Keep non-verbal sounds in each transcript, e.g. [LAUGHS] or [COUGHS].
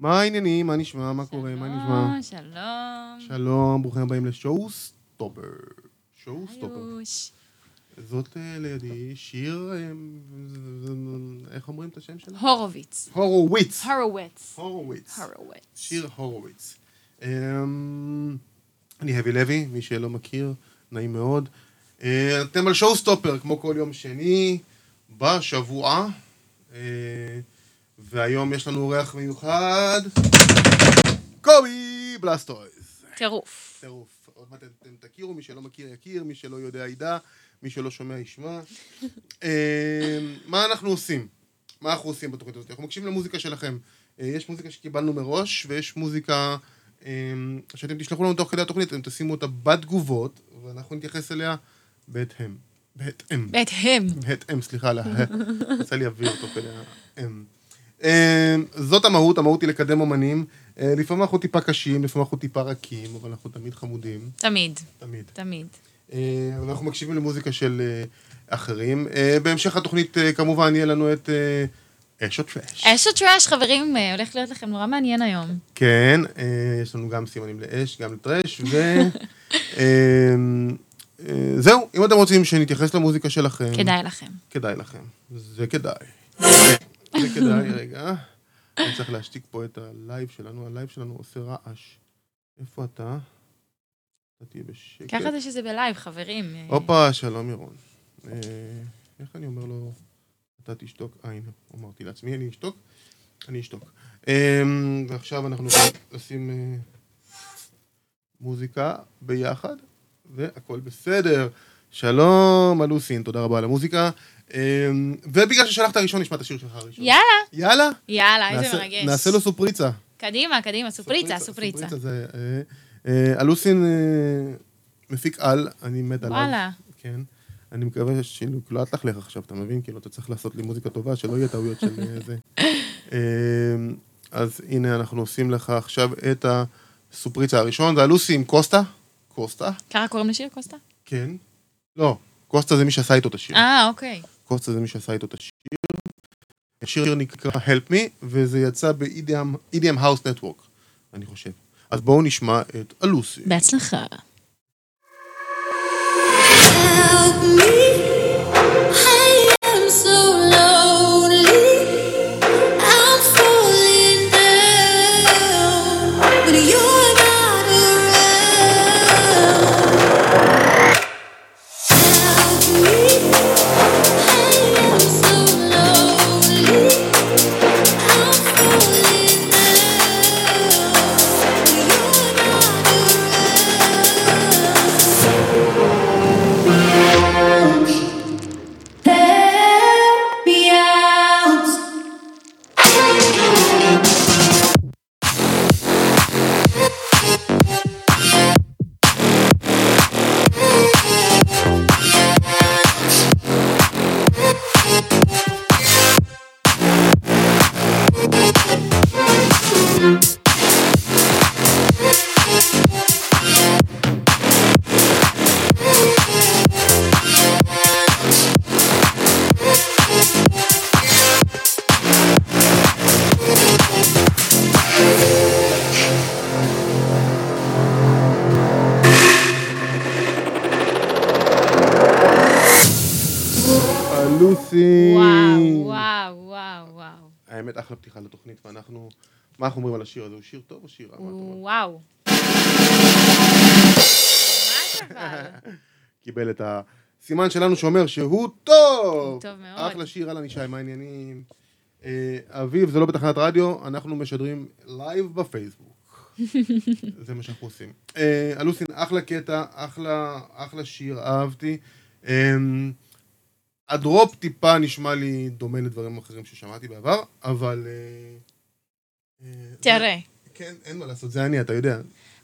מה העניינים? מה נשמע? מה קורה? מה נשמע? שלום, שלום. שלום, ברוכים הבאים לשואו סטופר. שואו סטופר. היוש. זאת אה, לידי שיר, אה, איך אומרים את השם שלה? הורוביץ. הורוביץ. הורוויץ. הורוביץ. הורוויץ. שיר הורוביץ. אמ, אני אבי לוי, מי שלא מכיר, נעים מאוד. אה, אתם על שואו סטופר, כמו כל יום שני, בשבוע. אה, והיום יש לנו אורח מיוחד, קובי בלסטויז. טירוף. טירוף. עוד מעט אתם תכירו, מי שלא מכיר יכיר, מי שלא יודע ידע, מי שלא שומע ישמע. אה, מה אנחנו עושים? מה אנחנו עושים בתוכנית הזאת? אנחנו מקשיבים למוזיקה שלכם. אה, יש מוזיקה שקיבלנו מראש, ויש מוזיקה אה, שאתם תשלחו לנו תוך כדי התוכנית, אתם תשימו אותה בתגובות, ואנחנו נתייחס אליה בהתאם. בהתאם. בהתאם. בהתאם, סליחה, על ה- [LAUGHS] יצא לי אוויר תוך כדי האם. אמ, זאת המהות, המהות היא לקדם אומנים. אה, לפעמים אנחנו טיפה קשים, לפעמים אנחנו טיפה רכים, אבל אנחנו תמיד חמודים, תמיד, תמיד. תמיד. אה, אבל אנחנו מקשיבים למוזיקה של אה, אחרים. אה, בהמשך התוכנית, אה, כמובן, יהיה לנו את אה, אש או טראש. אש או טראש, חברים, אה, הולך להיות לכם נורא מעניין היום. כן, אה, יש לנו גם סימנים לאש, גם לטרש, ו... אה, אה, זהו, אם אתם רוצים שנתייחס למוזיקה שלכם... כדאי לכם. כדאי לכם. זה כדאי. [LAUGHS] זה כדאי, רגע. אני צריך להשתיק פה את הלייב שלנו, הלייב שלנו עושה רעש. איפה אתה? אתה תהיה בשקט. ככה זה שזה בלייב, חברים. אה, הופה, שלום ירון. אה, איך אני אומר לו, אתה תשתוק? אה, הנה, אמרתי לעצמי, אני אשתוק? אני אשתוק. אה, ועכשיו אנחנו עושים אה, מוזיקה ביחד, והכל בסדר. שלום, אלוסין, תודה רבה על המוזיקה. אה, ובגלל ששלחת ראשון, נשמע את השיר שלך הראשון. יאללה, יאללה, יאללה, איזה נעשה- מרגש. נעשה לו סופריצה. קדימה, קדימה, סופריצה, סופריצה. זה, אה, אה, אלוסין אה, מפיק על, אני מת עליו. וואלה. כן. אני מקווה שכאילו, לא את תחלך עכשיו, אתה מבין? כאילו, אתה צריך לעשות לי מוזיקה טובה, שלא יהיה טעויות של אה, [LAUGHS] זה. אה, אז הנה, אנחנו עושים לך עכשיו את הסופריצה הראשון, זה הלוסי עם קוסטה. קוסטה? ככה קוראים לשיר, קוסטה? כן. לא, קוסטה זה מי שעשה איתו את השיר. אה, אוקיי. קוסטה זה מי שעשה איתו את השיר. השיר נקרא Help Me, וזה יצא ב-EDM EDM E House Network, אני חושב. אז בואו נשמע את אלוסי. בהצלחה. Help me, I am so lonely. I'm falling down when you're not around. Help me, I am so lonely. I'm falling down when you're not around. Help me out. אלוסי! וואו, וואו, וואו, וואו. האמת, אחלה פתיחה לתוכנית, ואנחנו... מה אנחנו אומרים על השיר הזה? הוא שיר טוב או שיר רע? מה אתה אומר? וואו. ממש אבל. קיבל את הסימן שלנו שאומר שהוא טוב! טוב מאוד. אחלה שיר, אהלן ישי, מה העניינים? אה, אביב, זה לא בתחנת רדיו, אנחנו משדרים לייב [LAUGHS] בפייסבוק. זה מה שאנחנו עושים. אה, אלוסין, אחלה קטע, אחלה, אחלה שיר, אהבתי. אה, הדרופ טיפה נשמע לי דומה לדברים אחרים ששמעתי בעבר, אבל... אה, אה, תראה, כן, אין מה לעשות, זה אני, אתה יודע.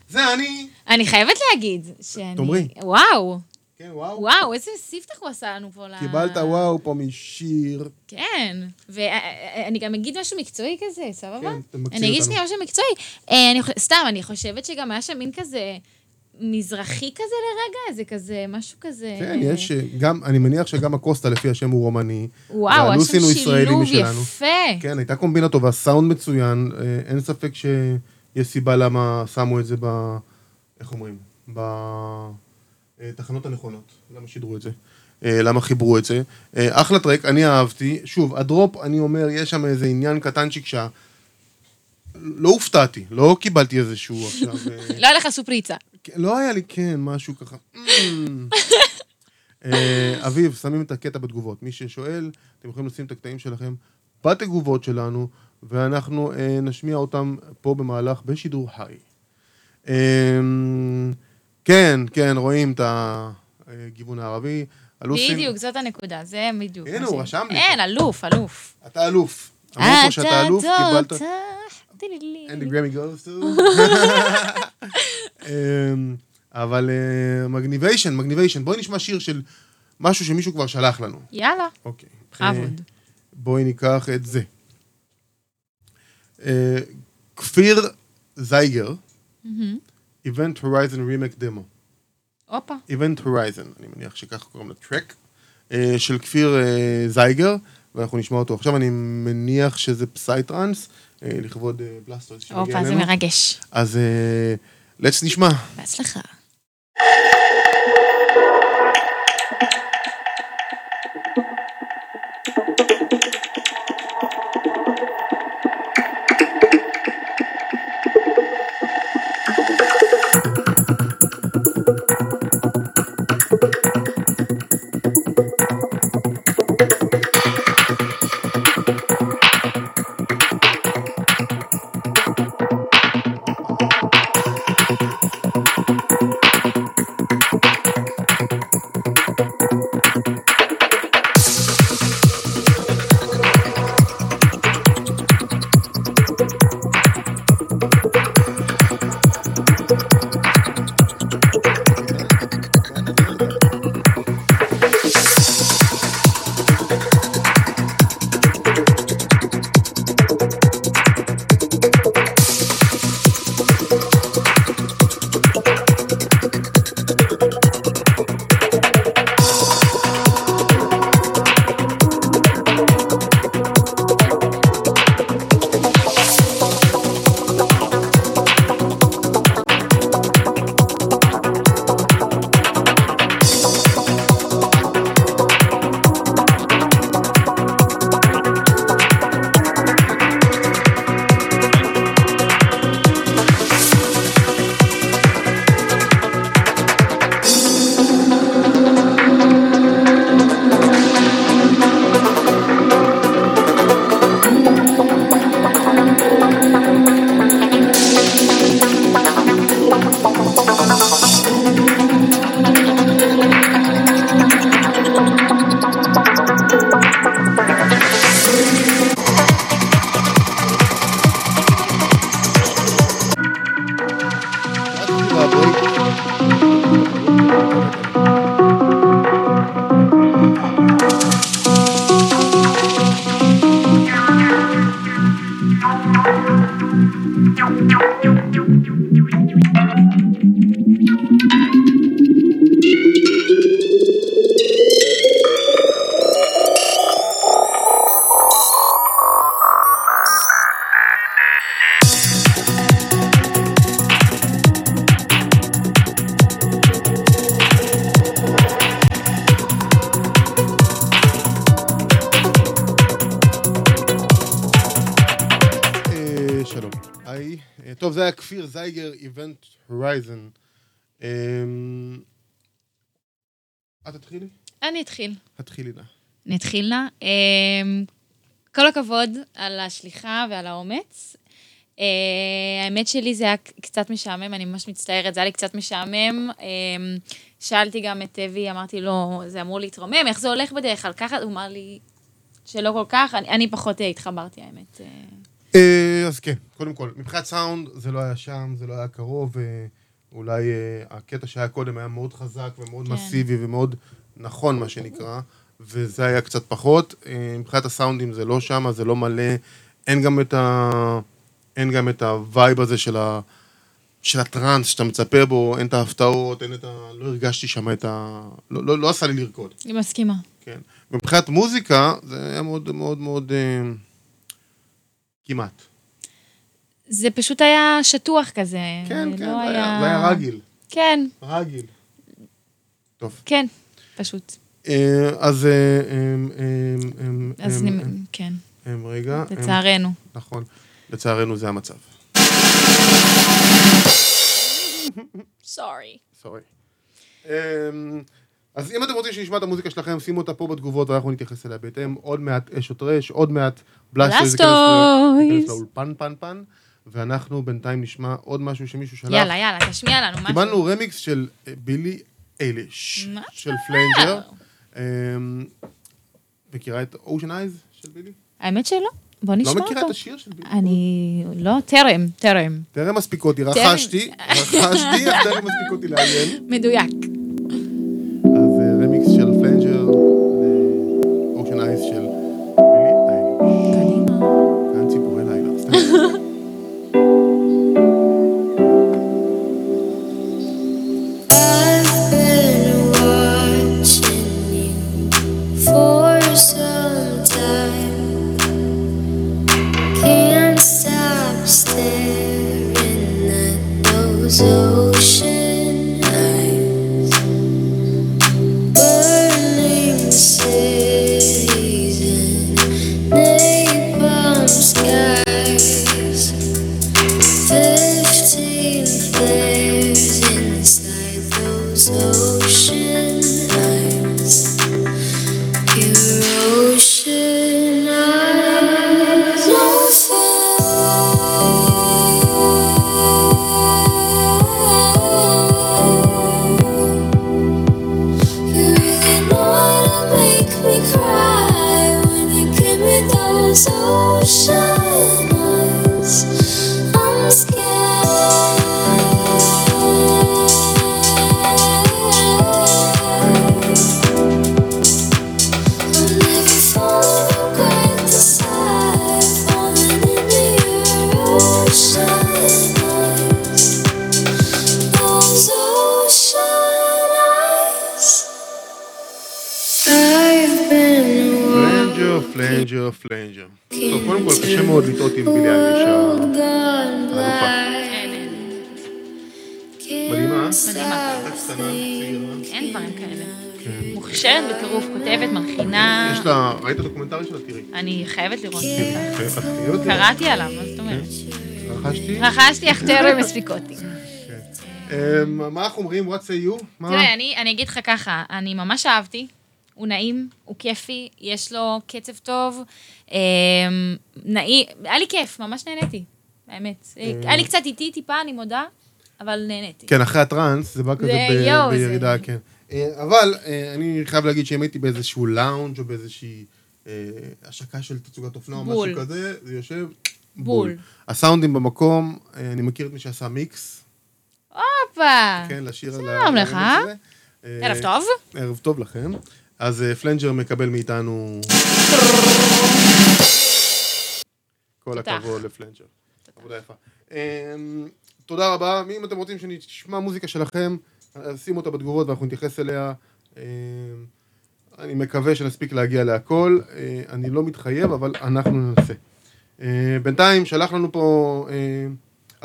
זה אני! אני חייבת להגיד שאני... תאמרי. וואו, כן, וואו. וואו, איזה ספתח הוא עשה לנו פה ל... קיבלת וואו פה משיר. כן, ואני גם אגיד משהו מקצועי כזה, סבבה? כן, אתה מקצין אני אגיד אותנו. שנייה משהו מקצועי. אה, אני חו- סתם, אני חושבת שגם היה שם מין כזה מזרחי כזה לרגע? זה כזה, משהו כזה... כן, יש אה, גם, אני מניח שגם הקוסטה לפי השם הוא רומני. וואו, היה והלוסין שם הוא ישראלי שילוב משלנו. יפה. כן, הייתה קומבינה טובה, סאונד מצוין, אה, אין ספק שיש סיבה למה שמו את זה ב... איך אומרים? בתחנות הנכונות. למה שידרו את זה? אה, למה חיברו את זה? אה, אחלה טרק, אני אהבתי. שוב, הדרופ, אני אומר, יש שם איזה עניין קטנצ'יק שה... לא הופתעתי, לא קיבלתי איזשהו עכשיו... אה, לא היה לך סופריצה. כן, לא היה לי כן, משהו ככה. אה, אביב, שמים את הקטע בתגובות. מי ששואל, אתם יכולים לשים את הקטעים שלכם בתגובות שלנו, ואנחנו אה, נשמיע אותם פה במהלך בשידור חי. אה, כן, כן, רואים את הגיוון הערבי. הלוסין- בדיוק, זאת הנקודה, זה בדיוק. הנה, מה הוא ש- רשם לי. אין, אלוף, אלוף. אתה אלוף. אמרו אה, פה שאתה אלוף, קיבלת... And the קיבלת... Grammy goes [LAUGHS] to... אמ, אבל אה, מגניביישן, מגניביישן. בואי נשמע שיר של משהו שמישהו כבר שלח לנו. יאללה, אוקיי. אה, עבוד. בואי ניקח את זה. אה, כפיר זייגר, Mm-hmm. Event Horizon Remake Demo. הופה. Event Horizon, אני מניח שככה קוראים לטרק, אה, של כפיר אה, זייגר, ואנחנו נשמע אותו עכשיו, אני מניח שזה פסייטרנס, אה, לכבוד אה, בלסטרס שמגיע הופה, זה אלינו. מרגש. אז אה, let's נשמע. בהצלחה. אה, שלום. היי. אה, טוב, זה היה כפיר זייגר, Event Horizon. אה, את אה, תתחילי? אני אתחיל. התחילי נא. נתחיל נא. אמ, כל הכבוד על השליחה ועל האומץ. אה, האמת שלי זה היה ק- קצת משעמם, אני ממש מצטערת, זה היה לי קצת משעמם. אמ, שאלתי גם את אבי, אמרתי לו, זה אמור להתרומם, איך זה הולך בדרך כלל? ככה, הוא אמר לי שלא כל כך, אני, אני פחות אה, התחברתי, האמת. אה, אה, אז כן, קודם כל, מבחינת סאונד, זה לא היה שם, זה לא היה קרוב, אה, אולי אה, הקטע שהיה קודם היה מאוד חזק ומאוד כן. מסיבי ומאוד נכון, מה שנקרא, וזה היה קצת פחות. אה, מבחינת הסאונדים זה לא שם, זה לא מלא, אין גם את ה... אין גם את הווייב הזה של ה... של הטראנס שאתה מצפה בו, אין את ההפתעות, אין את ה... לא הרגשתי שם את ה... לא, לא, לא עשה לי לרקוד, אני מסכימה. כן. מבחינת מוזיקה, זה היה מאוד מאוד מאוד... אה, כמעט. זה פשוט היה שטוח כזה. כן, אה, לא כן, זה היה, זה היה רגיל, כן, רגיל. טוב. כן, פשוט. אה, אז... אה, אה, אה, אה, אז אה, אני, כן, אה, אה, רגע. אה, לצערנו. נכון. לצערנו זה המצב. סורי. סורי. אמ, אז אם אתם רוצים שנשמע את המוזיקה שלכם, שימו אותה פה בתגובות ואנחנו נתייחס אליה בהתאם. עוד מעט אה, אש או טרש, עוד מעט בלאסטויז. ייכנס ל- בלאסטויז. ייכנס לאולפן פן פן, ואנחנו בינתיים נשמע עוד משהו שמישהו שלח. יאללה, יאללה, תשמיע לנו משהו. קיבלנו רמיקס של אה, בילי אייליש. מה של פלנג'ר. אמ, מכירה את אושן אייז של בילי? האמת שלא, בוא לא נשמע מכירה את אותו. השיר של בילי? אני, לא, טרם, טרם. טרם מספיקותי, רכשתי, [LAUGHS] רכשתי, אך טרם מספיקותי לעיין. מדויק. אז אה, רמיקס של פלנג'ר, אושן אייס של מילי אייליש. כאן ציפורי לילה. סתם. I've been watching you for some time. Can't stop staring at those ocean eyes. Burning cities and napalm skies. Fifteen flares inside those ocean eyes. Your ocean eyes are full. You really know how to make me cry when you give me those ocean eyes. I'm scared. I'm never falling quite this high, falling into your ocean eyes. Those ocean eyes. I've been walking. פלנג'ר, פלנג'ר, פלנג'ר. טוב, קודם כל קשה מאוד לטעות עם בילי אייליש. ה- מדהימה. קטנה, צעירה. אין דברים כאלה. מוכשרת בטירוף, כותבת, מלחינה. כן. יש כן. לה, ראית את הדוקומנטרי שלה? תראי. אני חייבת לראות תראי, אותה. את חייבת לראות. קראתי עליו, מה זאת אומרת? כן. רכשתי. רכשתי אך טרם הספיקותי. אמ, מה אנחנו אומרים? What say you? מה? תראה, אני אני אגיד לך ככה, אני ממש אהבתי. הוא נעים, הוא כיפי, יש לו קצב טוב. אמ, נעים, היה לי כיף, ממש נהניתי, האמת. היה לי קצת איטי טיפה, אני מודה, אבל נהניתי. אה. כן, אחרי הטראנס, זה בא כזה זה- ב- יואו, בירידה, זה- כן. אה, אבל אה, אני חייב להגיד שאם הייתי באיזשהו לאונג' או באיזושהי אה, השקה של תצוגת אופנה או משהו בול. כזה, זה יושב בול. בול. הסאונדים במקום, אה, אני מכיר את מי שעשה מיקס, הופה! כן, לשיר על שלום אה. לך. הרמיקס הזה. אה, ערב טוב. ערב טוב לכם. אז אה, פלנג'ר מקבל מאיתנו... כל תותח. הכבוד לפלנג'ר. עבודה יפה. אמ, תודה רבה. מי אם אתם רוצים שנשמע מוזיקה שלכם, אז שימו אותה בתגובות ואנחנו נתייחס אליה. אמ, אני מקווה שנספיק להגיע להכל. אה, אני לא מתחייב, אבל אנחנו ננסה. אה, בינתיים שלח לנו פה... אה,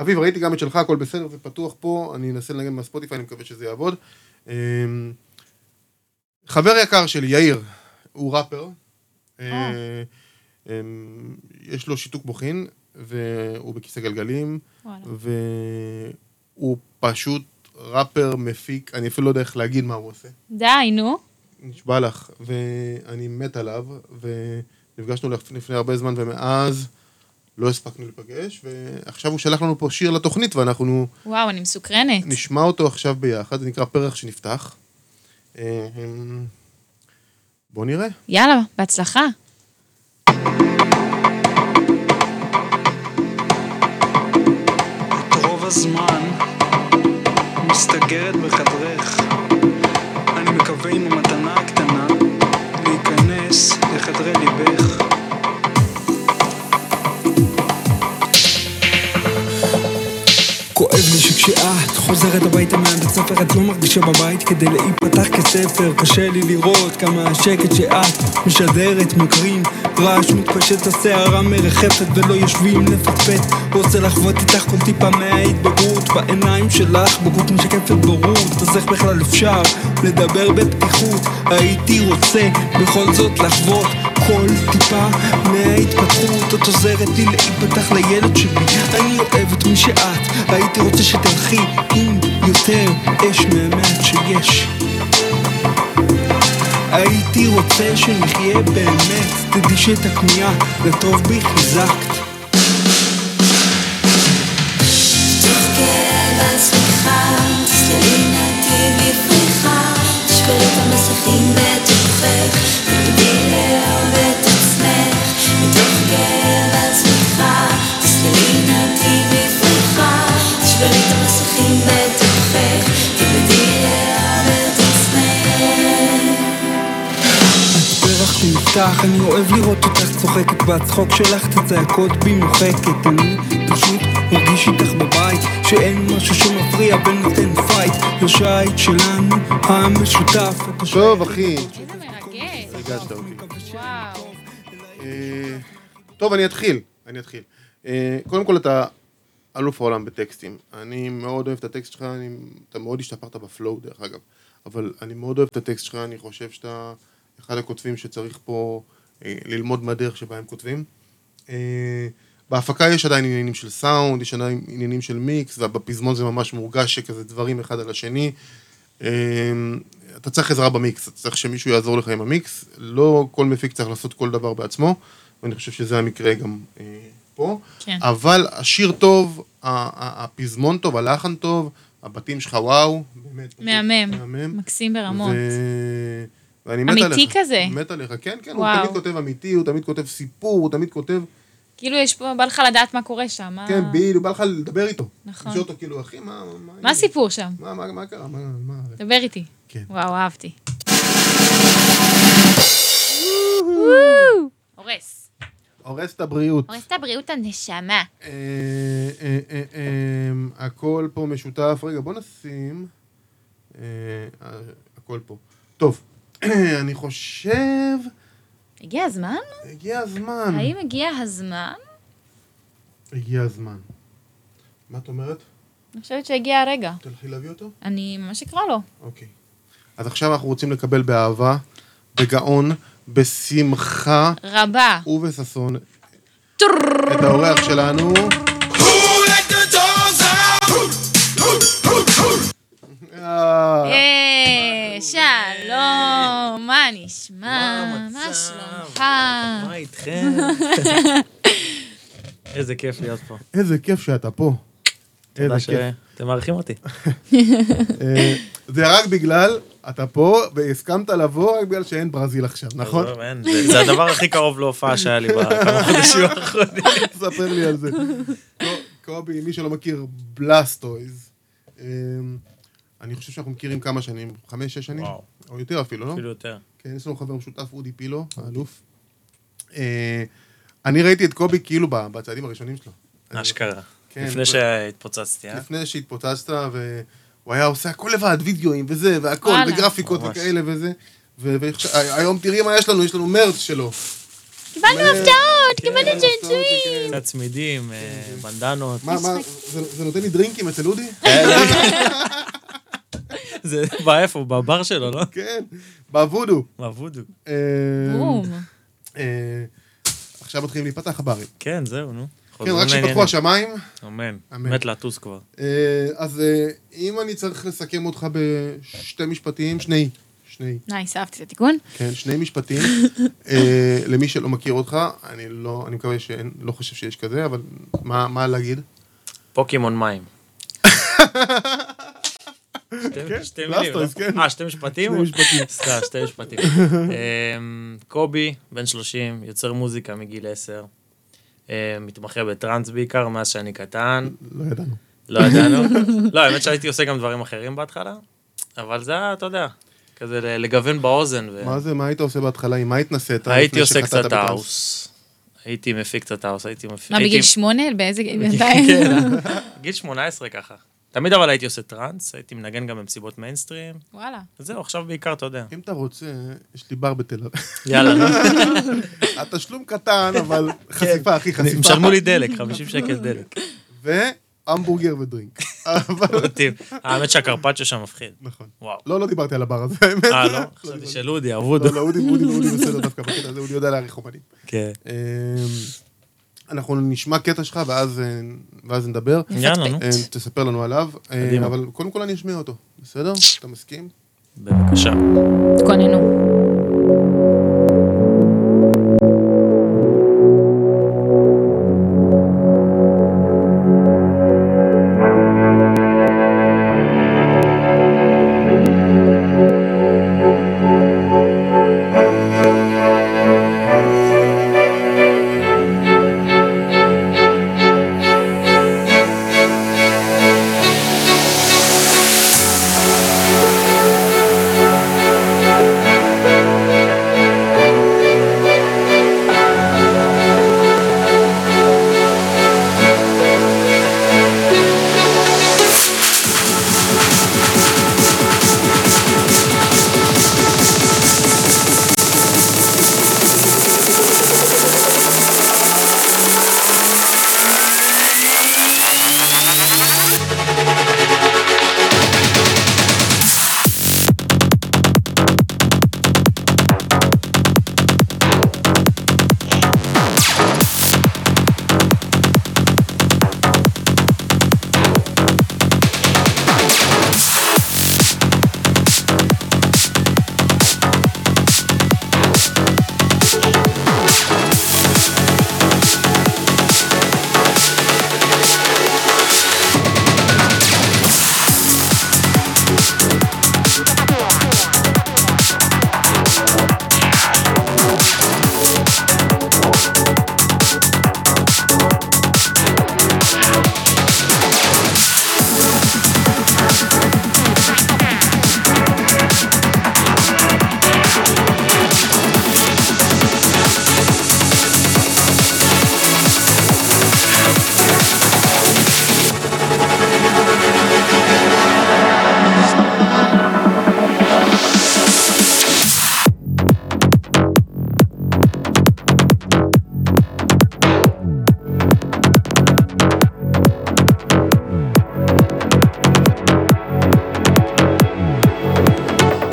אביב, ראיתי גם את שלך, הכל בסדר, זה פתוח פה, אני אנסה לנגן מהספוטיפיי, אני מקווה שזה יעבוד. אמ, חבר יקר שלי, יאיר, הוא ראפר. אה, אמ, יש לו שיתוק בוחין, והוא בכיסא גלגלים, וואלה. והוא פשוט ראפר, מפיק, אני אפילו לא יודע איך להגיד מה הוא עושה. די, נו. נשבע לך, ואני מת עליו, ונפגשנו לפ- לפני הרבה זמן, ומאז לא הספקנו להיפגש, ועכשיו הוא שלח לנו פה שיר לתוכנית, ואנחנו וואו, אני מסוקרנת. נשמע אותו עכשיו ביחד, זה נקרא פרח שנפתח. אה, אמ, בואו נראה. יאללה, בהצלחה. את רוב הזמן מסתגרת בחדרך. אני מקווה עם המתנה הקטנה להיכנס לחדרי ליבך. כואב לי שכש... כשאת חוזרת הביתה מהבית ספר את לא מרגישה בבית כדי להיפתח כספר קשה לי לראות כמה השקט שאת משדרת מקרים רעש מתפשט הסערה מרחפת ולא יושבים לפטפט רוצה לחוות איתך כל טיפה מההתבגרות בעיניים שלך בגרות משקפת בורות אז איך בכלל אפשר לדבר בפתיחות הייתי רוצה בכל זאת לחוות כל טיפה מההתפתחות את עוזרת לי להיפתח לילד שלי אני אוהב את מי שאת הייתי רוצה שתלכי עם יותר אש מהמעט שיש הייתי רוצה שנחיה באמת תדעי שאת הכמיהה לטוב בי חיזקת תשברי את המסכים בתוכך, תלמדי לאהוב את עצמך. פרח שנפתח, אני אוהב לראות אותך צוחקת והצחוק שלך את הצעקות בי מוחקת אני פשוט מרגיש איתך בבית שאין משהו שמפריע ונותן פייט לשייט שלנו המשותף טוב, אחי, איזה מרגש. הרגשת אותי. וואו. אה, טוב, אני אתחיל. אני אתחיל. אה, קודם כל, אתה אלוף העולם בטקסטים. אני מאוד אוהב את הטקסט שלך, אני, אתה מאוד השתפרת בפלואו, דרך אגב. אבל אני מאוד אוהב את הטקסט שלך, אני חושב שאתה אחד הכותבים שצריך פה אה, ללמוד מהדרך שבה הם כותבים. אה, בהפקה יש עדיין עניינים של סאונד, יש עדיין עניינים של מיקס, ובפזמון זה ממש מורגש שכזה דברים אחד על השני. אה, אתה צריך עזרה במיקס, אתה צריך שמישהו יעזור לך עם המיקס, לא כל מפיק צריך לעשות כל דבר בעצמו, ואני חושב שזה המקרה גם אה, פה. כן. אבל השיר טוב, ה- ה- הפזמון טוב, הלחן טוב, הבתים שלך וואו, באמת. בתים מהמם. מהמם. מקסים ברמות. ו- ואני מת אמיתי עליך. כזה. מת עליך, כן, כן, וואו. הוא תמיד כותב אמיתי, הוא תמיד כותב סיפור, הוא תמיד כותב, כאילו, יש פה, בא לך לדעת מה קורה שם. מה- כן, בדיוק, בא לך לדבר איתו. אה. נכון. לשאול אותו, כאילו, אחי, מה... מה הסיפור שם? מה, מה, מה קרה? מה, מה... דבר איתי. כן. וואו, אהבתי. הורס. הורס את הבריאות. הורס את הבריאות הנשמה. אה, אה, אה, אה, הכל פה משותף. רגע, בוא נשים... אה, אה, הכל פה. טוב, [CLEARS THROAT] אני חושב... הגיע הזמן? הגיע הזמן. האם הגיע הזמן? הגיע הזמן. מה את אומרת? אני חושבת שהגיע הרגע. תלכי להביא אותו? אני ממש אקרא לו. אוקיי. אז עכשיו אנחנו רוצים לקבל באהבה, בגאון, בשמחה רבה. ובששון את האורח שלנו. אה, אה, שלום, מה נשמע? מה מה המצב? שלומך? מה איתכם? איזה כיף להיות פה. איזה כיף שאתה פה. איזה תודה כיף. שאתם מארחים אותי. אה, זה רק בגלל, אתה פה, והסכמת לבוא רק בגלל שאין ברזיל עכשיו, נכון? עזוב, אין, זה- זה הדבר הכי קרוב להופעה שהיה לי [LAUGHS] בכמה חודשים נכון. האחרונים. ספר לי על זה. קו- קובי, מי שלא מכיר, בלאסטויז. אמ, אני חושב שאנחנו מכירים כמה שנים, חמש, שש שנים? וואו. או יותר אפילו, לא? אפילו יותר. כן, יש לנו חבר משותף, אודי פילו, האלוף. אה, אני ראיתי את קובי כאילו ב- בצעדים הראשונים שלו. אשכרה. כן, ו- לפני שהתפוצצתי, אה? לפני שהתפוצצת, והוא היה עושה הכל לבד, וידאוים וזה, והכל, וואלה. וגרפיקות ממש. וכאלה וזה. והיום תראי מה יש לנו, יש לנו מרץ שלו. קיבלנו הפתעות, קיבלנו ג'נג'וי. כן. קצת צמידים, אה, בנדנות. מה, מה, זה זה נותן לי דרינקים אצל אודי? זה בא איפה? בבר שלו, לא? כן, בוודו. בוודו. אה, בום. אה, עכשיו מתחילים להיפתח הברים. כן, זהו, נו. כן, חוזרים רק שפתחו לעניינים. השמיים. אמן. אמן. מת לטוס כבר. אה, אז אה, אם אני צריך לסכם אותך בשתי משפטים, שני, שני, נייס, אהבתי את התיקון. כן, שני משפטים, אה, למי שלא מכיר אותך, אני לא, אני מקווה שאין, לא חושב שיש כזה, אבל מה מה להגיד? פוקימון מים. שתי- שתי מילים, בלסטרס, לא? כן. אה, שתי משפטים? שני משפטים. [LAUGHS] סליחה, שתי משפטים. אמ, קובי, בן 30, יוצר מוזיקה מגיל 10. אמ, מתמחה בטראנס בעיקר מאז שאני קטן. לא ידענו. לא [LAUGHS] ידענו. לא, האמת שהייתי עושה גם דברים אחרים בהתחלה, אבל זה היה, אתה יודע, כזה ל- לגוון באוזן. ו- מה זה, מה היית עושה בהתחלה, עם מה התנסית? הייתי לפני עושה שחטאת קצת בטרנס? האוס. הייתי לא, מפיק קצת האוס, הייתי כן. מפיק... [LAUGHS] כן. [LAUGHS] מה, בגיל שמונה? באיזה גיל? כן, בגיל 18 ככה. תמיד אבל הייתי עושה טראנס, הייתי מנגן גם במסיבות מיינסטרים. [LAUGHS] וואלה. זהו, עכשיו בעיקר, [LAUGHS] אתה יודע. אם אתה רוצה, יש לי בר בתל אביב. [LAUGHS] יאללה. התשלום קטן, אבל חשיפה, אחי, הם חשיפה. שרמו לי דלק, 50 שקל [LAUGHS] דלק. והמבורגר ודרינק. [LAUGHS] אבל... מדהים. האמת שהקרפצ'ו שם מפחיד. נכון. וואו. לא, לא דיברתי על הבר הזה, האמת. אה, לא? לא חשבתי דיברתי. של אודי, אבוד. לא, לא, אודי, אודי, אודי בסדר דווקא בקטע הזה, אודי יודע להעריך אומנים. כן. אמ, אנחנו נשמע קטע שלך ואז אה, ואז נדבר. יאללה, נו. אמ, תספר לנו עליו, אה, קדימה. אבל קודם כל אני אשמיע אותו, בסדר? אתה מסכים? בבקשה. כוננו.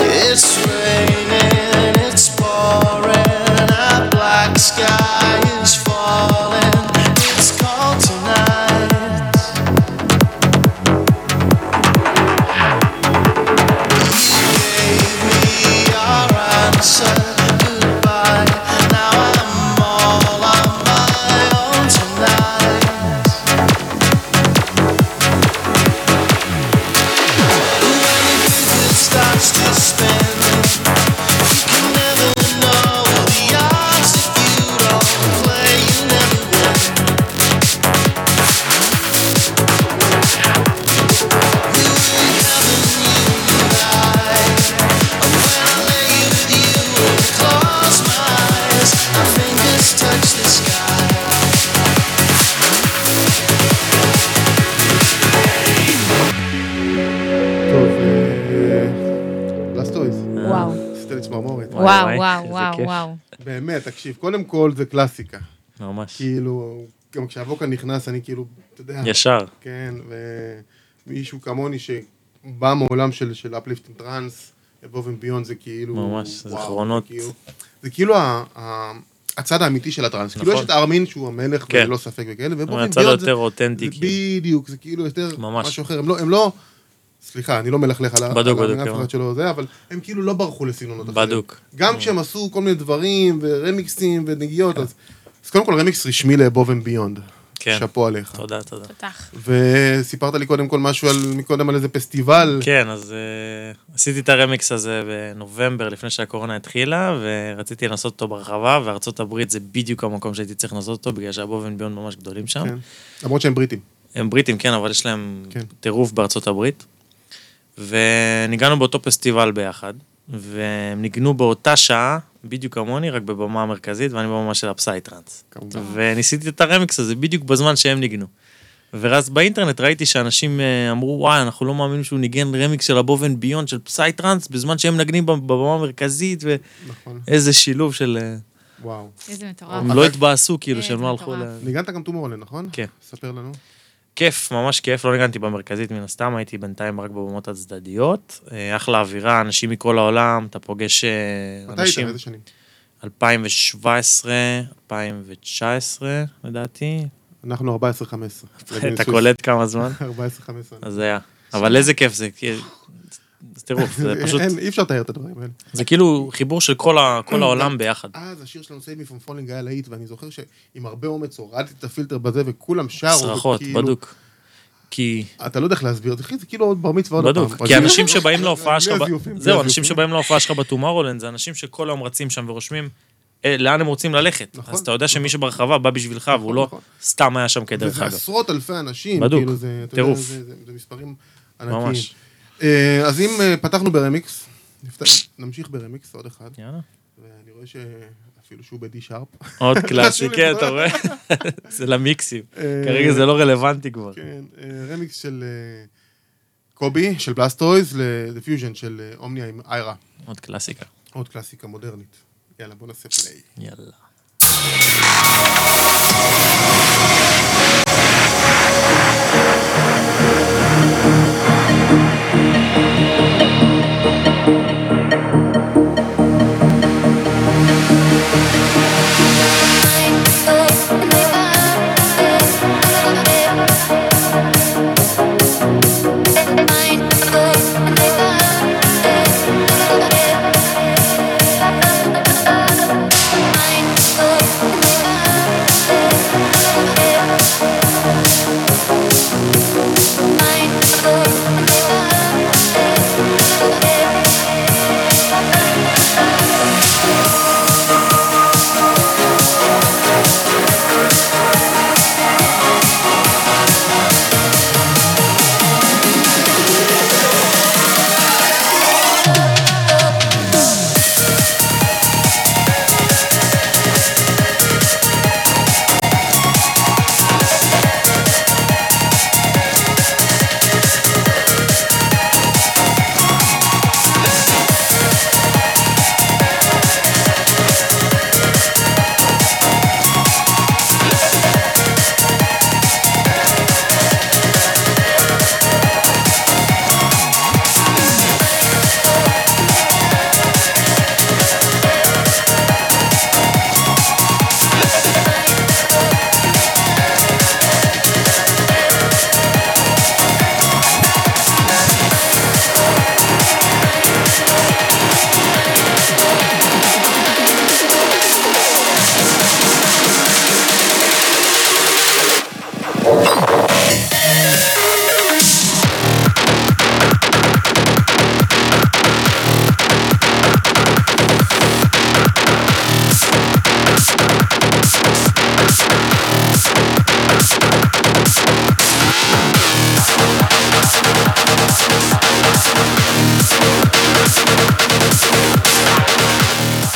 It's raining, it's pouring, a black sky is falling. It's cold tonight. You gave me your answer, goodbye. Now I'm all on my own tonight. It starts to spin. You can never know the odds if you don't play. You never win. You in heaven, you and I. And when I lay with you and close my eyes, our fingers touch the sky. טוב, אה, לסטויז, וואו. עשית לי צמרמורת. וואי, וואו, וואי, וואו, איזה וואו, כיף. וואו. באמת, תקשיב, קודם כל זה קלאסיקה. ממש. כאילו, גם כשהווקה נכנס, אני כאילו, אתה יודע... ישר. כן, ומישהו כמוני שבא מעולם של, של אפליפטינג טראנס, אבוב וביון זה כאילו... ממש, זה וואו, זיכרונות. זה כאילו, זה כאילו ה, ה, הצד האמיתי של הטראנס. נכון. כאילו נכון. יש את הארמין שהוא המלך, כן. וללא ספק וכאלה, ואבוב הצד וביון זה... היותר אותנטי. זה כאילו. בדיוק, זה כאילו יותר ממש. משהו אחר. הם לא, הם לא... סליחה, אני לא מלכלך על ה- בדוק, על בדוק, אף אחד כן. שלא זה, אבל הם כאילו לא ברחו לסגנונות אחרים. בדוק. Mm. גם כשהם עשו כל מיני דברים, ורמיקסים ונגיעות, אז... אז קודם כל רמיקס רשמי לאבוב וביונד. כן. שאפו עליך. תודה, תודה. פתח. וסיפרת לי קודם כל משהו על, מקודם על איזה פסטיבל. כן, אז uh, עשיתי את הרמיקס הזה בנובמבר, לפני שהקורונה התחילה, ורציתי לנסות אותו ברחבה, וארצות הברית זה בדיוק המקום שהייתי צריך לנסות אותו, בגלל שהבובן ביון ממש גדולים שם. כן. למרות שהם בריטים. הם בריטים, כן, אבל יש להם כן. טירוף בארצות הברית. וניגענו באותו פסטיבל ביחד, והם ניגנו באותה שעה, בדיוק כמוני, רק בבמה המרכזית, ואני בבמה של הפסייטרנס. כמובן. וניסיתי את הרמיקס הזה בדיוק בזמן שהם ניגנו. ואז באינטרנט ראיתי שאנשים אה, אמרו, וואי, אנחנו לא מאמינים שהוא ניגן רמיקס של הבוב אנד ביונד של פסייטרנס, בזמן שהם מנגנים בב- בבמה המרכזית, נכון, ואיזה שילוב של... אה, וואו. איזה מטורף. הם לא התבאסו, כאילו, אה, שהם זה לא הלכו ל... מטורף. ניגנת גם טומורלנד, נכון? כן. ספר לנו. כיף, ממש כיף, לא ניגנתי במרכזית מן הסתם, הייתי בינתיים רק בבמות הצדדיות. אה, אחלה אווירה, אנשים מכל העולם, אתה פוגש אה, מתי היית? אנשים... איזה שנים? 2017, 2019, לדעתי. אנחנו 14-15. אתה קולט כמה זמן? 14-15. אז היה. אבל איזה כיף זה, כי- זה טירוף, [LAUGHS] זה פשוט, אין, אי אפשר לתאר את הדברים האלה. זה כאילו חיבור של כל ה- כל העולם ביחד. אז השיר שלנו סייב מי פונפולינג היה להיט, ואני זוכר שעם הרבה אומץ הורדתי את הפילטר בזה, וכולם שרו. צרחות, וכאילו- בדוק. כי, אתה לא יודע איך להסביר את זה, אחי, זה כאילו עוד בר מצווה עוד פעם. בדוק, כי אנשים שבאים להופעה שלך, ב- הזיופים, בלי זהו, הזיופים. אנשים שבאים להופעה שלך בטומארולנד, זה אנשים שכל היום רצים שם ורושמים אה, לאן הם רוצים ללכת. נכון, אז אתה יודע שמי שברחבה בא בשבילך, והוא לא נכון. סתם היה שם כדרך וזה אגב. עשרות אלפי אנשים. בדוק, כאילו, זה- אתה טירוף. יודע, זה- זה- זה מספרים ענקיים. ממש. אה, אז אם אה, פתחנו ברמיקס, נפתח- נמשיך ברמיקס עוד אחד, יאללה. ואני רואה שאפילו שהוא ב-D שרפ. [LAUGHS] עוד קלאסי, חשוב כן, לזכור. אתה רואה? [LAUGHS] זה למיקסים. אה, כרגע זה לא רלוונטי כבר. כן, אה, רמיקס של אה, קובי, של בלאסטרויז, לדיפיוז'ן של אה, אומניה עם איירה. עוד קלאסיקה. עוד קלאסיקה מודרנית. יאללה, בוא נעשה פליי. יאללה.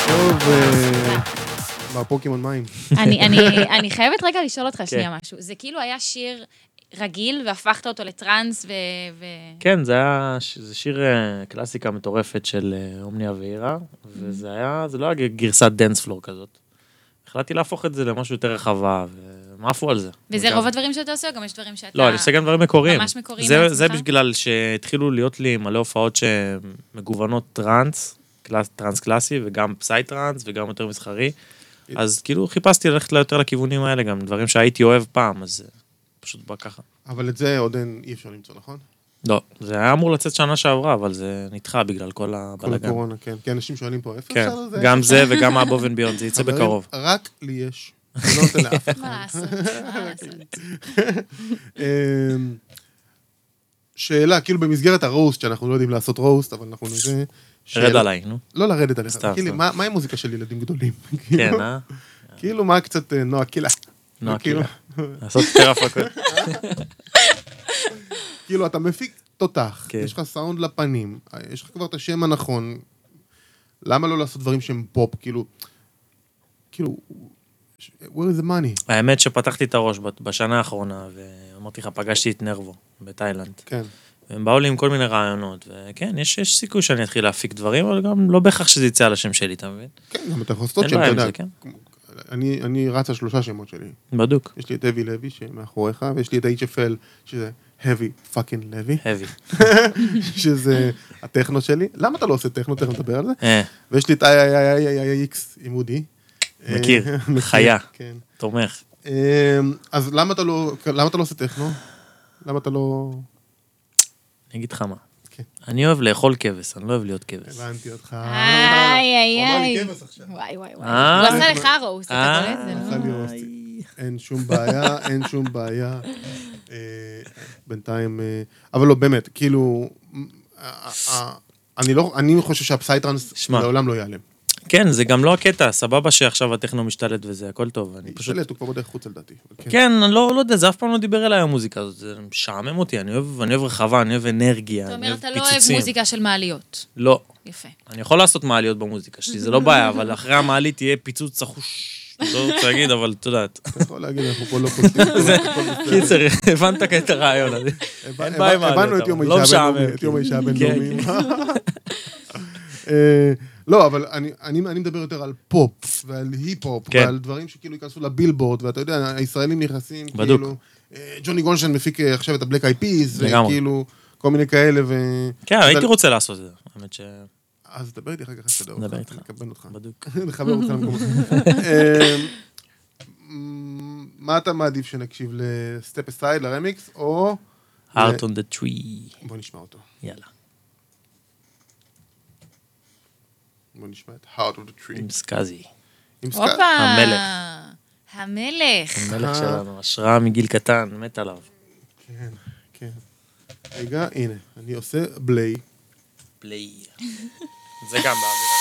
טוב, אה, מהפוקימון מים. אני- [LAUGHS] אני- אני חייבת רגע לשאול אותך כן. שנייה משהו. זה כאילו היה שיר רגיל, והפכת אותו לטראנס, ו... ו- כן, זה היה, ש- זה שיר אה, קלאסיקה מטורפת של אה, אומניה ואירה, וזה היה, זה לא היה ג- גרסת דנס פלור כזאת. החלטתי להפוך את זה למשהו יותר רחבה, והם עפו על זה. וזה וגם- רוב הדברים שאתה עושה, או גם יש דברים שאתה... לא, אני עושה גם דברים מקוריים. ממש מקוריים זה, לעצמך? זה בגלל שהתחילו להיות לי מלא הופעות שמגוונות טראנס, קלאס, טראנס קלאסי, וגם פסאי טראנס, וגם יותר מסחרי. אז כאילו חיפשתי ללכת יותר לכיוונים האלה, גם דברים שהייתי אוהב פעם, אז אה, פשוט בא ככה. אבל את זה עוד אין, אי אפשר למצוא, נכון? לא, זה היה אמור לצאת שנה שעברה, אבל זה נדחה בגלל כל כל הבלאגן. הקורונה, כן. כי אנשים שואלים פה, איפה כן, אפשר לזה? גם זה וגם הבוב אנד ביונד, זה יצא חברים, בקרוב. רק לי יש. אני לא נותן לאף [LAUGHS] אחד. אה. מה לעשות? מה לעשות? אמ, שאלה, כאילו במסגרת הרוסט, שאנחנו לא יודעים לעשות רוסט, אבל אנחנו נראה... רד שאלה- עליי, נו. לא לרדת עליך, סתם, כאילו, סתם. מה מה עם מוזיקה של ילדים גדולים? [LAUGHS] [LAUGHS] כן, כאילו, אה? כאילו, מה קצת אה, נועה קילה? נועה כאילו- קילה. לעשות יותר הפקות. [LAUGHS] כאילו, אתה מפיק תותח, כן. יש לך סאונד לפנים, יש לך כבר את השם הנכון, למה לא לעשות דברים שהם פופ? כאילו, כאילו, where is the money? האמת שפתחתי את הראש בת- בשנה האחרונה, ואמרתי לך, פגשתי את נרבו בתאילנד. כן. הם באו לי עם כל מיני רעיונות, וכן, יש, יש סיכוי שאני אתחיל להפיק דברים, אבל גם לא בהכרח שזה יצא על השם שלי, אתה מבין? כן, גם את החוסטות אין שם, אתה בעיה עם יודע. זה, כן. אני- אני רץ על שלושה שמות שלי. בדוק. יש לי את אבי לוי שמאחוריך, ויש לי את ה-HFL, שזה heavy fucking לוי, [LAUGHS] heavy. שזה הטכנו שלי. למה אתה לא עושה טכנו? תכף נדבר על זה. אה, ויש לי את IIIIIX עימודי. מכיר, אה, [LAUGHS] מכיר, חיה. כן. תומך. אה, אז למה אתה לא למה אתה לא עושה טכנו? למה אתה לא... אני אגיד לך מה. כן. אני אוהב לאכול כבש, אני לא אוהב להיות כבש. הבנתי אותך. אה, איי, איי, הוא אמר לי איי. כבש עכשיו. וואי, וואי, וואי. אה? הוא עשה לך רוסט, אתה אה. קולט? זה לא... עשה לי רוסטי. אין שום בעיה, אין שום בעיה. אה, בינתיים... אה, אבל לא, באמת, כאילו... אה, אה, אני לא... אני חושב שהפסייטרנס שמע. לעולם לא ייעלם. כן, זה גם לא הקטע, סבבה שעכשיו הטכנו משתלט וזה, הכל טוב. אני פשוט... השתלט, הוא כבר בדרך חוצה לדעתי. אבל כן. כן, אני לא, לא יודע, זה אף פעם לא דיבר אליי המוזיקה הזאת, זה משעמם אותי, אני אוהב, אני אוהב רחבה, אני אוהב אנרגיה, אתה אני אומר, אוהב אתה פיצוצים. לא אוהב מוזיקה של מעליות. לא. יפה. אני יכול לעשות מעליות במוזיקה שלי, זה לא בעיה, אבל אחרי המעלית תהיה פיצוץ צחוש. לא רוצה להגיד, אבל את יודעת. אתה יכול להגיד, אנחנו פה לא [LAUGHS] קולטים. הכל בסדר. קיצר, הבנת את הרעיון הזה. אין בעיה עם הבנו העליות, את יום אבל לא האישה הבינלאומי. משעמם, את יום האישה כאילו. [LAUGHS] הבינלאומי. אה, לא, אבל אני- אני אני מדבר יותר על פופ, ועל היפ-הופ, כן. ועל דברים שכאילו ייכנסו לבילבורד, ואתה יודע, הישראלים נכנסים, בדוק. כאילו... אה, ג'וני גולדשטיין מפיק אה, עכשיו את הבלק איי פיז, לגמרי. וכאילו, כל מיני כאלה, ו... כן, אז הייתי אני- רוצה לעשות את זה, האמת ש... אז דבר איתי אחר כך, איך נדבר אותך, איתך. נקבן אותך. בדוק. [LAUGHS] נחבר אותך למקום [LAUGHS] אחר. אה, מה אתה מעדיף שנקשיב לסטפ אסייד, לרמיקס, או... heart on the tree, בוא נשמע אותו. יאללה. בוא נשמע את heart of the tree. עם סקאזי, עם סקאט. הופה. המלך. המלך. אה. המלך שלנו, השראה מגיל קטן, מת עליו. כן, כן. רגע, הנה, אני עושה בליי. פליי. זה גם באווירה.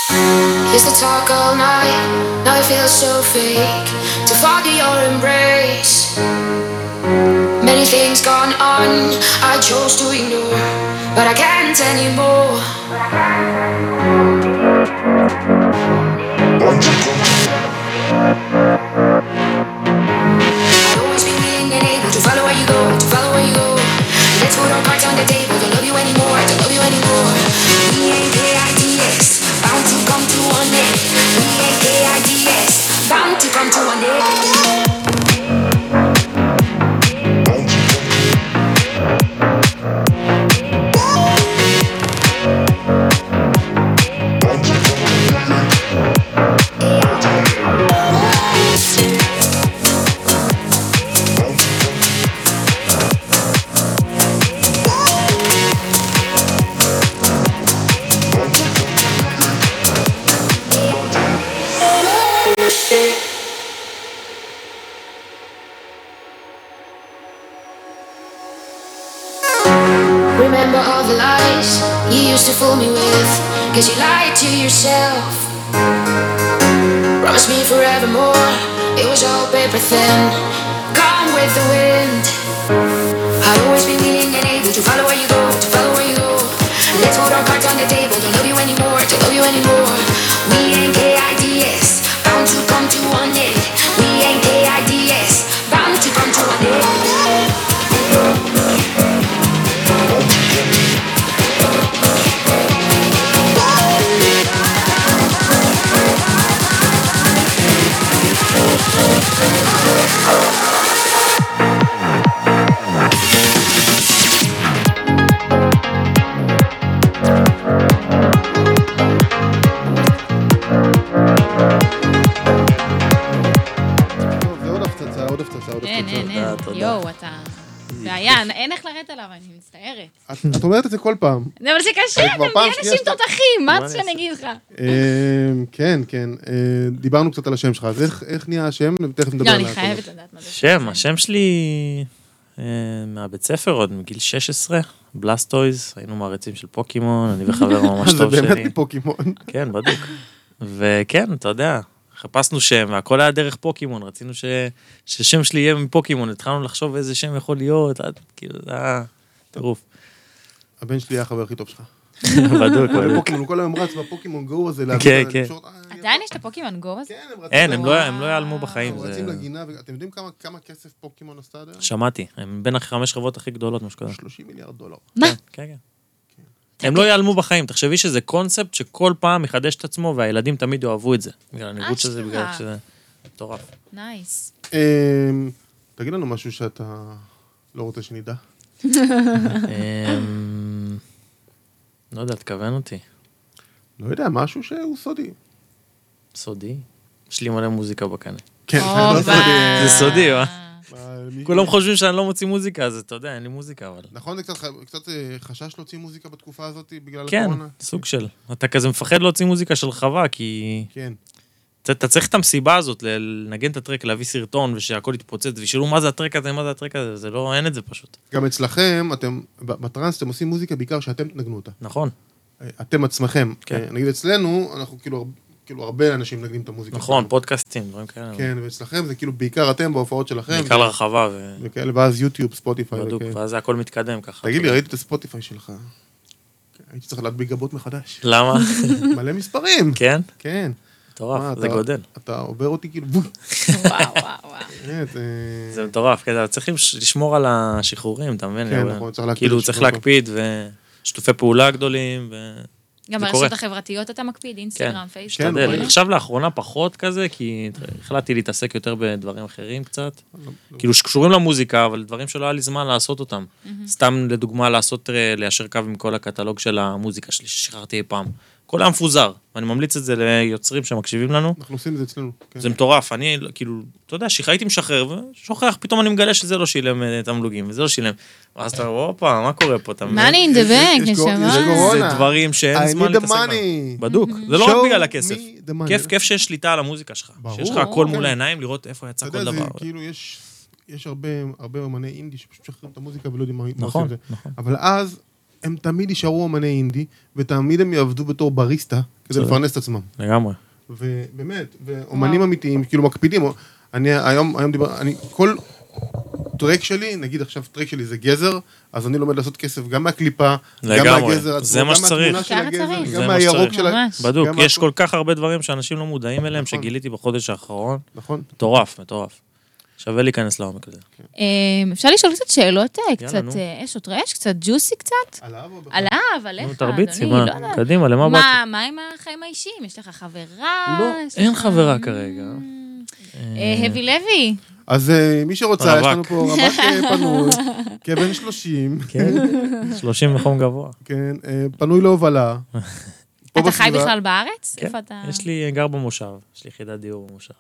Used to talk all night, now it feels so fake to follow your embrace. Many things gone on, I chose to ignore, but I can't anymore. I've always been willing and able to follow where you go, to follow where you go. Let's put our cards on the table, don't love you anymore, don't love you anymore. We ain't K-I-D-S, bound to come to one day. We ain't K-I-D-S, bound to come to one day. Remember all the lies you used to fool me with, cause you lied to yourself. Promised me forevermore, it was all paper thin, gone with the wind. I've always been willing and able to follow where you go, to follow where you go. Let's put our cards on the table, don't love you anymore, don't love you anymore. We ain't KIDS, bound to come to one end. We ain't KIDS, bound to come to one end. טוב, זה עוד הפצצה, עוד הפצצה, עוד אין, הפצצה. אין, אין. תודה. כן, יואו, אתה... בעיה, אין- אין איך לרדת עליו, אני מצטערת. את- את אומרת את זה כל פעם. זה אבל זה קשה, זה כבר גם פעם תהיה שנייה אנשים שאתה- תותחים, מה מה אתה אני שאני אגיד לך? לא, אמ, כן, כן. אה, דיברנו קצת על השם שלך, אז איך- איך נהיה השם? תכף נדבר לא, על אני הכל. חייבת לדעת מה זה. שם, השם שלי אה, מהבית ספר עוד, מגיל 16, בלסטויז, היינו מעריצים של פוקימון, אני וחבר ממש [LAUGHS] זה טוב שלי. באמת מפוקימון. כן, בדוק. וכן, אתה יודע, חיפשנו שם, והכל היה דרך פוקימון, רצינו ש... ששם שלי יהיה מפוקימון, התחלנו לחשוב איזה שם יכול להיות, עד כאילו, זה היה טירוף. הבן שלי היה החבר הכי טוב שלך. [LAUGHS] בדוק, בדוק. בפוקימון, הוא כל היום רץ בפוקימון גו הזה. כן, כן. אתה [LAUGHS] עדיין יש את הפוקימון גו הזה? כן, הם רצים... אין, הם לגינה. לא- הם לא ייעלמו בחיים. הם זה- רצים לגינה, ואתם יודעים כמה- כמה כסף פוקימון עשתה עד היום? שמעתי, הם בין החמש חברות הכי גדולות, מה שקורה. 30 מיליארד דולר. מה? כן, כן. הם לא ייעלמו בחיים, תחשבי שזה קונספט שכל פעם מחדש את עצמו, והילדים תמיד יאהבו את זה. בגלל הניגוד של זה, אשכרה. בגלל שזה מטורף. כן. [LAUGHS] נייס. אמ, תגיד לנו משהו שאתה לא רוצה שנדע. אמ, לא יודע, תכוון אותי. לא יודע, משהו שהוא סודי. סודי? יש לי מלא מוזיקה בקנה. כן, אופה. לא סודי. אה, זה סודי, אה. מה? מה, מי- כולם חושבים שאני לא מוציא מוזיקה, אז אתה יודע, אין לי מוזיקה, אבל... נכון, זה קצת ח- קצת אה, חשש להוציא מוזיקה בתקופה הזאת בגלל כן, הקורונה? סוג של. אתה כזה מפחד להוציא מוזיקה של חווה, כי... כן. אתה- אתה צריך את המסיבה הזאת, ל- לנגן את הטרק, להביא סרטון, ושהכול יתפוצץ, וישאלו מה זה הטרק הזה, מה זה הטרק הזה, זה לא, אין את זה פשוט. גם אצלכם, אתם, ב- בטראנס אתם עושים מוזיקה בעיקר שאתם תנגנו אותה. נכון, אה, אתם עצמכם. כן. אה, נגיד אצלנו, אנחנו כאילו, הר- כאילו הרבה אנשים מנגנים את המוזיקה. נכון, שלנו. פודקאסטים, דברים כאלה. כן, ואצלכם זה כאילו בעיקר אתם בהופעות שלכם. בעיקר לרחבה, ו- וכאלה, ואז יוטיוב, ספוטיפיי. בדוק, וכאלה. ואז הכל מתקדם ככה. אוקיי. תגיד לי, ראיתי את הספוטיפיי שלך. הייתי צריך להדביק גבות [LAUGHS] מחדש. למה? מלא מספרים. כן? כן. מה, מטורף, זה אתה- גודל. אתה עובר אותי כאילו, בום. וואו, וואו, וואו. באמת, אה, זה מטורף, כן, כי אתה צריך למש- לשמור על השחרורים, אתה מבין? כן, אבל- נכון, צריך להקפיד כאילו, על צריך שחרור. להקפיד, ושיתופי פעולה גדולים, ו... גם זה ברשתות קורה. החברתיות אתה מקפיד, אינסטגרם, פייסטים. כן, משתדל. רואים. עכשיו לאחרונה פחות כזה, כי החלטתי להתעסק יותר בדברים אחרים קצת. כאילו שקשורים למוזיקה, אבל דברים שלא היה לי זמן לעשות אותם. סתם לדוגמה, לעשות, אה, ליישר קו עם כל הקטלוג של המוזיקה שלי ששחררתי אי פעם. הכל היה מפוזר, ואני ממליץ את זה ליוצרים שמקשיבים לנו. אנחנו עושים את זה אצלנו. כן. זה מטורף, אני לא- כאילו, אתה יודע, שכ- הייתי משחרר ושוכח, פתאום אני מגלה שזה לא שילם אה, תמלוגים, וזה לא שילם. ואז אתה, הופה, מה קורה פה, אתה מבין? מאני אין דה יש- בנק, יש גו- נשמה. יש גו- זה קורונה. דברים I שאין need זמן the להתעסק בהם. money. בדיוק, Mm-hmm. זה לא רק Show בגלל me הכסף. the money. כיף, כיף שיש שליטה על המוזיקה שלך. ברור. שיש לך הכל כן. מול העיניים, לראות איפה אתה יצא כל יודע, זה דבר. כאילו, יש יש הרבה הרבה אמני אינדי שפשוט משחררים את המוזיקה ולא יודעים מה מה עושים. נכון, עם זה. נכון. אבל אז, הם תמיד יישארו אמני אינדי, ותמיד הם יעבדו בתור בריסטה, כדי צודק. לפרנס את עצמם. לגמרי. ובאמת, ואומנים אמיתיים, כאילו מקפידים. אני היום, היום דיבר, אני, כל טרק שלי, נגיד עכשיו טרק שלי זה גזר, אז אני לומד לעשות כסף גם מהקליפה, גם לגמרי. מהגזר עצמו, זה מה גם שצריך. מהתמונה של ככה הגזר, צריך. זה גם מה מהירוק שצריך. של ה... ממש. בדוק, גם יש הכל- כל כך הרבה דברים שאנשים לא מודעים אליהם, נכון. שגיליתי בחודש האחרון. נכון. מטורף, מטורף. שווה להיכנס לעומק לזה. אמ, אפשר לשאול קצת שאלות, אה, קצת נו. אה, אש או טרש, קצת ג'וסי קצת? עליו או בכלל? עליו, נו, עליך, תרביצי, אדוני, מה? לא יודעת. קדימה, למה באת? מה, מה עם החיים האישיים? יש לך חברה? לא, יש אין לך- חברה כרגע. אה, הבי לוי. אז אה, מי שרוצה, יש רווק. לנו פה רווק אה, [LAUGHS] פנוי, כבן 30, כן, 30 בחום גבוה. כן, אה, פנוי [LAUGHS] להובלה. פה אתה חי בסביבה. בכלל בארץ? כן, איפה אתה? יש לי, גר במושב, יש לי יחידת דיור במושב.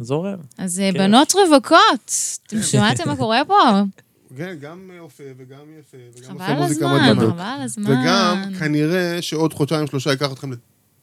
זורם. אז אה, בנות רווקות, [LAUGHS] אתם שמעתם מה קורה פה? כן, גם אה, אופה וגם יפה, וגם עושה חבל מוזיקה הזמן, מדהימה. חבל הזמן. וגם, כנראה שעוד חודשיים, שלושה ייקח אתכם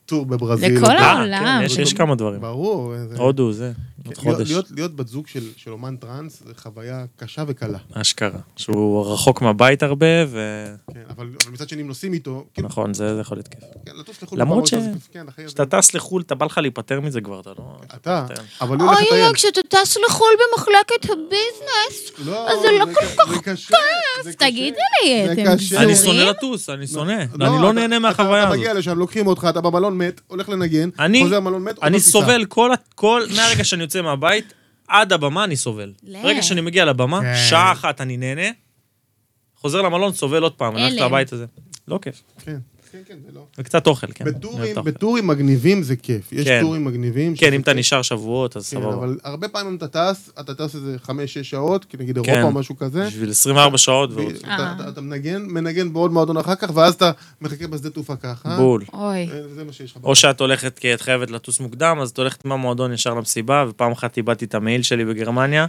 לטור בברזיל. לכל ו- אה, העולם. כן, יש- יש כמה דברים. ברור. אה, זה- הודו, זה, עוד כן, להיות- חודש. להיות- להיות בת זוג של של אומן טראנס זה חוויה קשה וקלה. אשכרה. שהוא רחוק מהבית הרבה, ונכון, כן, אבל אבל מצד שני, אם נוסעים איתו, כאילו, זה זה יכול להיות כיף. כן, לטוס לחו"ל, נכון. למרות בפעם ש- הראשונה זה- כן, אחי, זה- כשאתה טס לחו"ל, אתה בא לך להיפטר מזה כבר, אתה לא... אתה, אבל הוא הולך אוי אוי, לטייל. כשאתה טס לחו"ל במחלקת הביזנס, לא, אז זה לא כל כך כיף. תגידי לי, זה אתם קשה. אני זורים? שונא לטוס, אני שונא. אני לא נהנה מהחוויה אתה הזאת. מגיע לשם, לוקחים אותך, אתה במלון מת, הולך לנגן, אני- חוזר במלון מת, עוד לא אני טיסה. סובל כל, כל, מהרגע שאני יוצא מהבית, עד הבמה אני סובל. לא. ברגע שאני מגיע לבמה, כן. שעה אחת אני נהנה, חוזר למלון, סובל עוד פעם, אני הולך הלם. לבית הזה. לא כיף. כן, כן, כן, זה לא. וקצת אוכל, כן. אני בטורים, אוהב את האוכל. בטורים מגניבים זה כיף. יש כן. טורים מגניבים. כן, שזה אם אתה כיף. נשאר שבועות, אז כן, סבבה. אבל הרבה פעמים אם אתה טס, אתה טס איזה 5-6 שעות, כי נגיד כן. אירופה או משהו כזה. בשביל 24 שעות ו- ועוד. אתה- אתה- אתה מנגן, מנגן בעוד מועדון אחר כך, ואז אתה מחכה בשדה תעופה ככה. בול. אוי, אה, וזה מה שיש לך. או שאת הולכת כי את חייבת לטוס מוקדם, אז את הולכת מהמועדון ישר למסיבה, ופעם אחת איבדתי את המעיל שלי בגרמניה,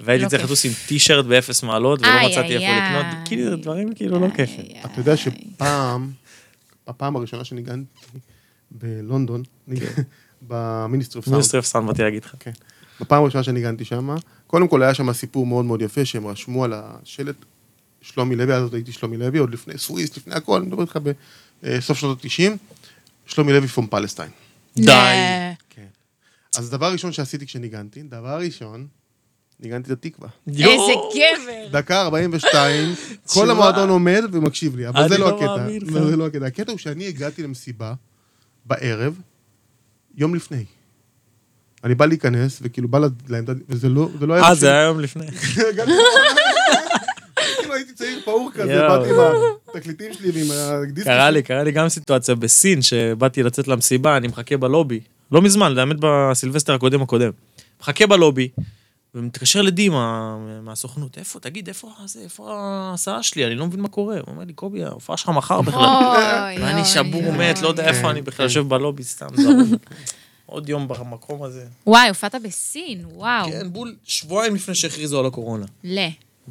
והייתי לא צריך כיף. לטוס עם טישרט באפס מעלות, ולא איי, מצאתי איי, איפה איי. לקנות, כאילו, זה דברים כאילו לא כיפים. אתה יודע שפעם, בפעם הראשונה שניגנתי בלונדון, כן. [LAUGHS] במיניסטרי אוף סאונד, מיניסטרי אוף סאונד באתי להגיד לך. כן. בפעם הראשונה שניגנתי שם, קודם כל היה שם סיפור מאוד מאוד יפה, שהם רשמו על השלט שלומי לוי, אז עוד הייתי שלומי לוי, עוד לפני סוויסט, לפני הכל, אני מדבר איתך בסוף שנות ה-90, שלומי לוי פום פלסטיין. די. אז דבר ראשון שעשיתי כשניגנתי, דבר ראשון, ניגנתי את התקווה. איזה גבר. דקה 42, כל כן. [LAUGHS] תשמע. המועדון עומד ומקשיב לי, אבל אני זה לא לא הקטע. מאמין לך. לא, זה לא הקטע. הקטע הוא שאני הגעתי למסיבה בערב, יום לפני. אני בא להיכנס, וכאילו בא לעמדה, וזה לא, זה לא היה... אה, זה היה יום לפני. הגעתי- כאילו הייתי צעיר פעור כזה, יואו. באתי עם התקליטים שלי ועם הדיסק. [LAUGHS] קרה לי, קרה לי גם סיטואציה בסין, שבאתי לצאת למסיבה, אני מחכה בלובי. לא מזמן, לאמת בסילבסטר הקודם הקודם. מחכה בלובי, ומתקשר לדימה מהסוכנות, איפה, תגיד, איפה זה, איפה ההסעה שלי? אני לא מבין מה קורה. הוא אומר לי, קובי, ההופעה שלך מחר בכלל. אוי, [LAUGHS] ואני אוי, לא. שבור אוי. מת, לא יודע איפה אני בכלל יושב בלובי, סתם זרום. [LAUGHS] עוד יום במקום הזה. וואי, הופעת בסין, וואו. כן, בול שבועיים לפני שהכריזו על הקורונה. ל.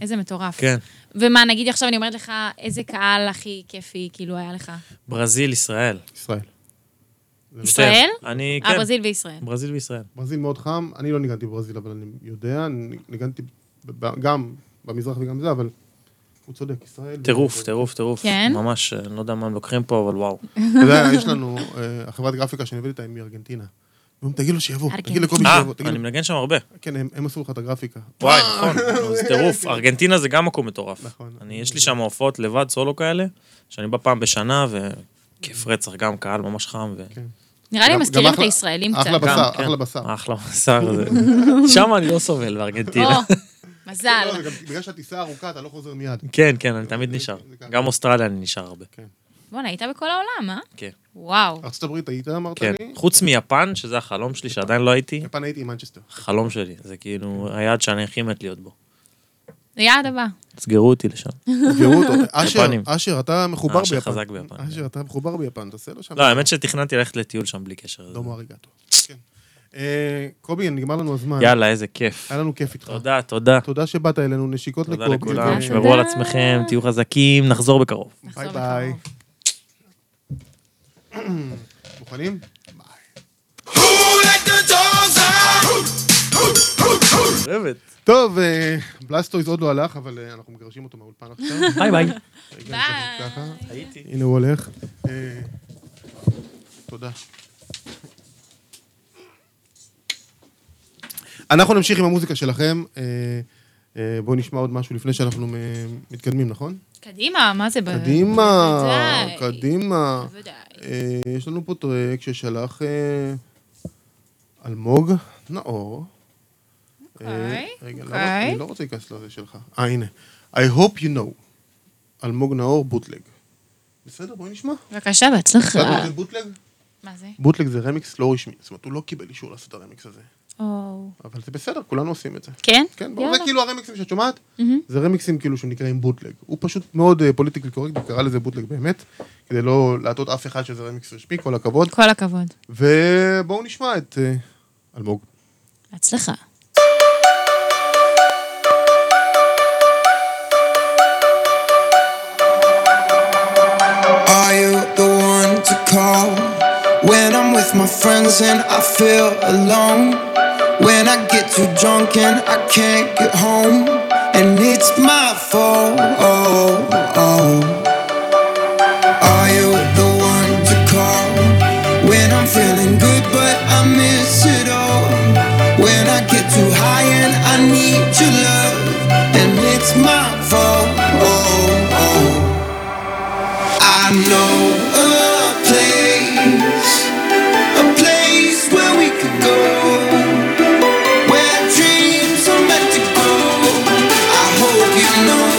איזה מטורף. כן. ומה, נגיד עכשיו אני אומרת לך, איזה קהל הכי כיפי כאילו היה לך? ברזיל, ישראל. ישראל. ישראל? אני, אה, כן. ברזיל וישראל. ברזיל וישראל. ברזיל מאוד חם, אני לא ניגנתי בברזיל, אבל אני יודע, אני ניגנתי ב- ב- גם במזרח וגם זה, אבל הוא צודק, ישראל... טירוף, טירוף, טירוף. כן? ממש, אה, אני לא יודע מה הם לוקחים פה, אבל וואו. אתה יודע, יש לנו, אה, החברת גרפיקה שאני עובד איתה היא מארגנטינה. אומרים, תגיד לו שיבוא, תגיד לקובי אה, שיבוא, תגיד אה, אני לו... מנגן שם הרבה. כן, הם הם עשו לך את הגרפיקה. וואי, נכון, נו, זה טירוף. ארגנטינה זה גם מקום מטורף. אה, נכון. אני, יש לי שם הופעות לבד, סולו כאלה, שאני בא פעם בשנה, וכיף רצח, גם קהל ממש חם. ו- כן. נראה גם- לי הם גם מזכירים את אחלה- הישראלים אחלה קצת. גם, בשר, כן. אחלה בשר. אחלה [LAUGHS] בשר. זה- שם אני לא סובל, בארגנטינה. [LAUGHS] או, מזל. לא, זה גם- בגלל שהטיסה ארוכה, אתה לא חוזר מיד. כן, כן, אני תמיד נשאר. זה ככה. גם אוסטרליה אני נשאר הרבה. בואנה, היית בכל העולם, אה? כן. וואו. ארצות הברית היית, אמרת כן. לי? חוץ מיפן, שזה החלום שלי, שעדיין לא הייתי, יפן הייתי עם מנצ'סטר. חלום שלי. זה כאילו היעד שאני הכי מת להיות בו. ליעד הבא. תסגרו אותי לשם. תראו [LAUGHS] אותו. אשר, יפנים. אשר, אתה מחובר אשר ביפן. חזק ביפן, כן. אשר, אתה מחובר ביפן, תעשה לו שם. לא, האמת שתכננתי ללכת לטיול שם בלי קשר. לזה. דומו אריגטו. כן. אה, קובי, נגמר לנו הזמן. יאללה, איזה כיף. היה לנו כיף איתך. תודה, אה. תודה. תודה שבאת אלינו, נשיקות תודה לקובי. לכולם, ו- שמרו על עצמכם, תהיו חזקים, נחזור בקרוב. [LAUGHS] ביי אה, ביי. [COUGHS] מוכנים? טוב, אה, בלסטויז עוד לא הלך, אבל אה, אנחנו מגרשים אותו מהאולפן עכשיו. ביי ביי. רגע, נשאר כן, ככה. הנה הוא הולך. אה, תודה. אנחנו נמשיך עם המוזיקה שלכם. אה, אה, בואו נשמע עוד משהו לפני שאנחנו מ- מתקדמים, נכון? קדימה, מה זה? ב- קדימה, בוודאי. קדימה. בוודאי. אה, יש לנו פה טרק ששלח אה, אלמוג נאור. אה, אוקיי, רגע, לא, אוקיי. אני לא רוצה להיכנס לזה שלך. אה, הנה. I hope you know. אלמוג נאור בוטלג. בסדר, בואי נשמע. בבקשה, בהצלחה. בסדר, זה בוטלג? מה זה? בוטלג זה רמיקס לא רשמי. זאת אומרת, הוא לא קיבל אישור לעשות את הרמיקס הזה. או. אבל זה בסדר, כולנו עושים את זה. כן? כן, ברור, יאללה. זה כאילו הרמיקסים שאת שומעת, זה רמיקסים כאילו שנקראים בוטלג. הוא פשוט מאוד פוליטיקלי קורקט, הוא קרא לזה בוטלג באמת, כדי לא להטעות אף אחד שזה רמיקס רשמי, כל הכבוד. כל הכבוד. ובואו נשמע את אה, אלמוג. הצלחה. Are you the one to call when I'm with my friends and I feel alone? When I get too drunk and I can't get home, and it's my fault. Are you the one to call when I'm feeling good but I miss it all? When I get too high and I need your love, and it's my fault. I know a place, a place where we could go, where dreams are meant to go. I hope you know.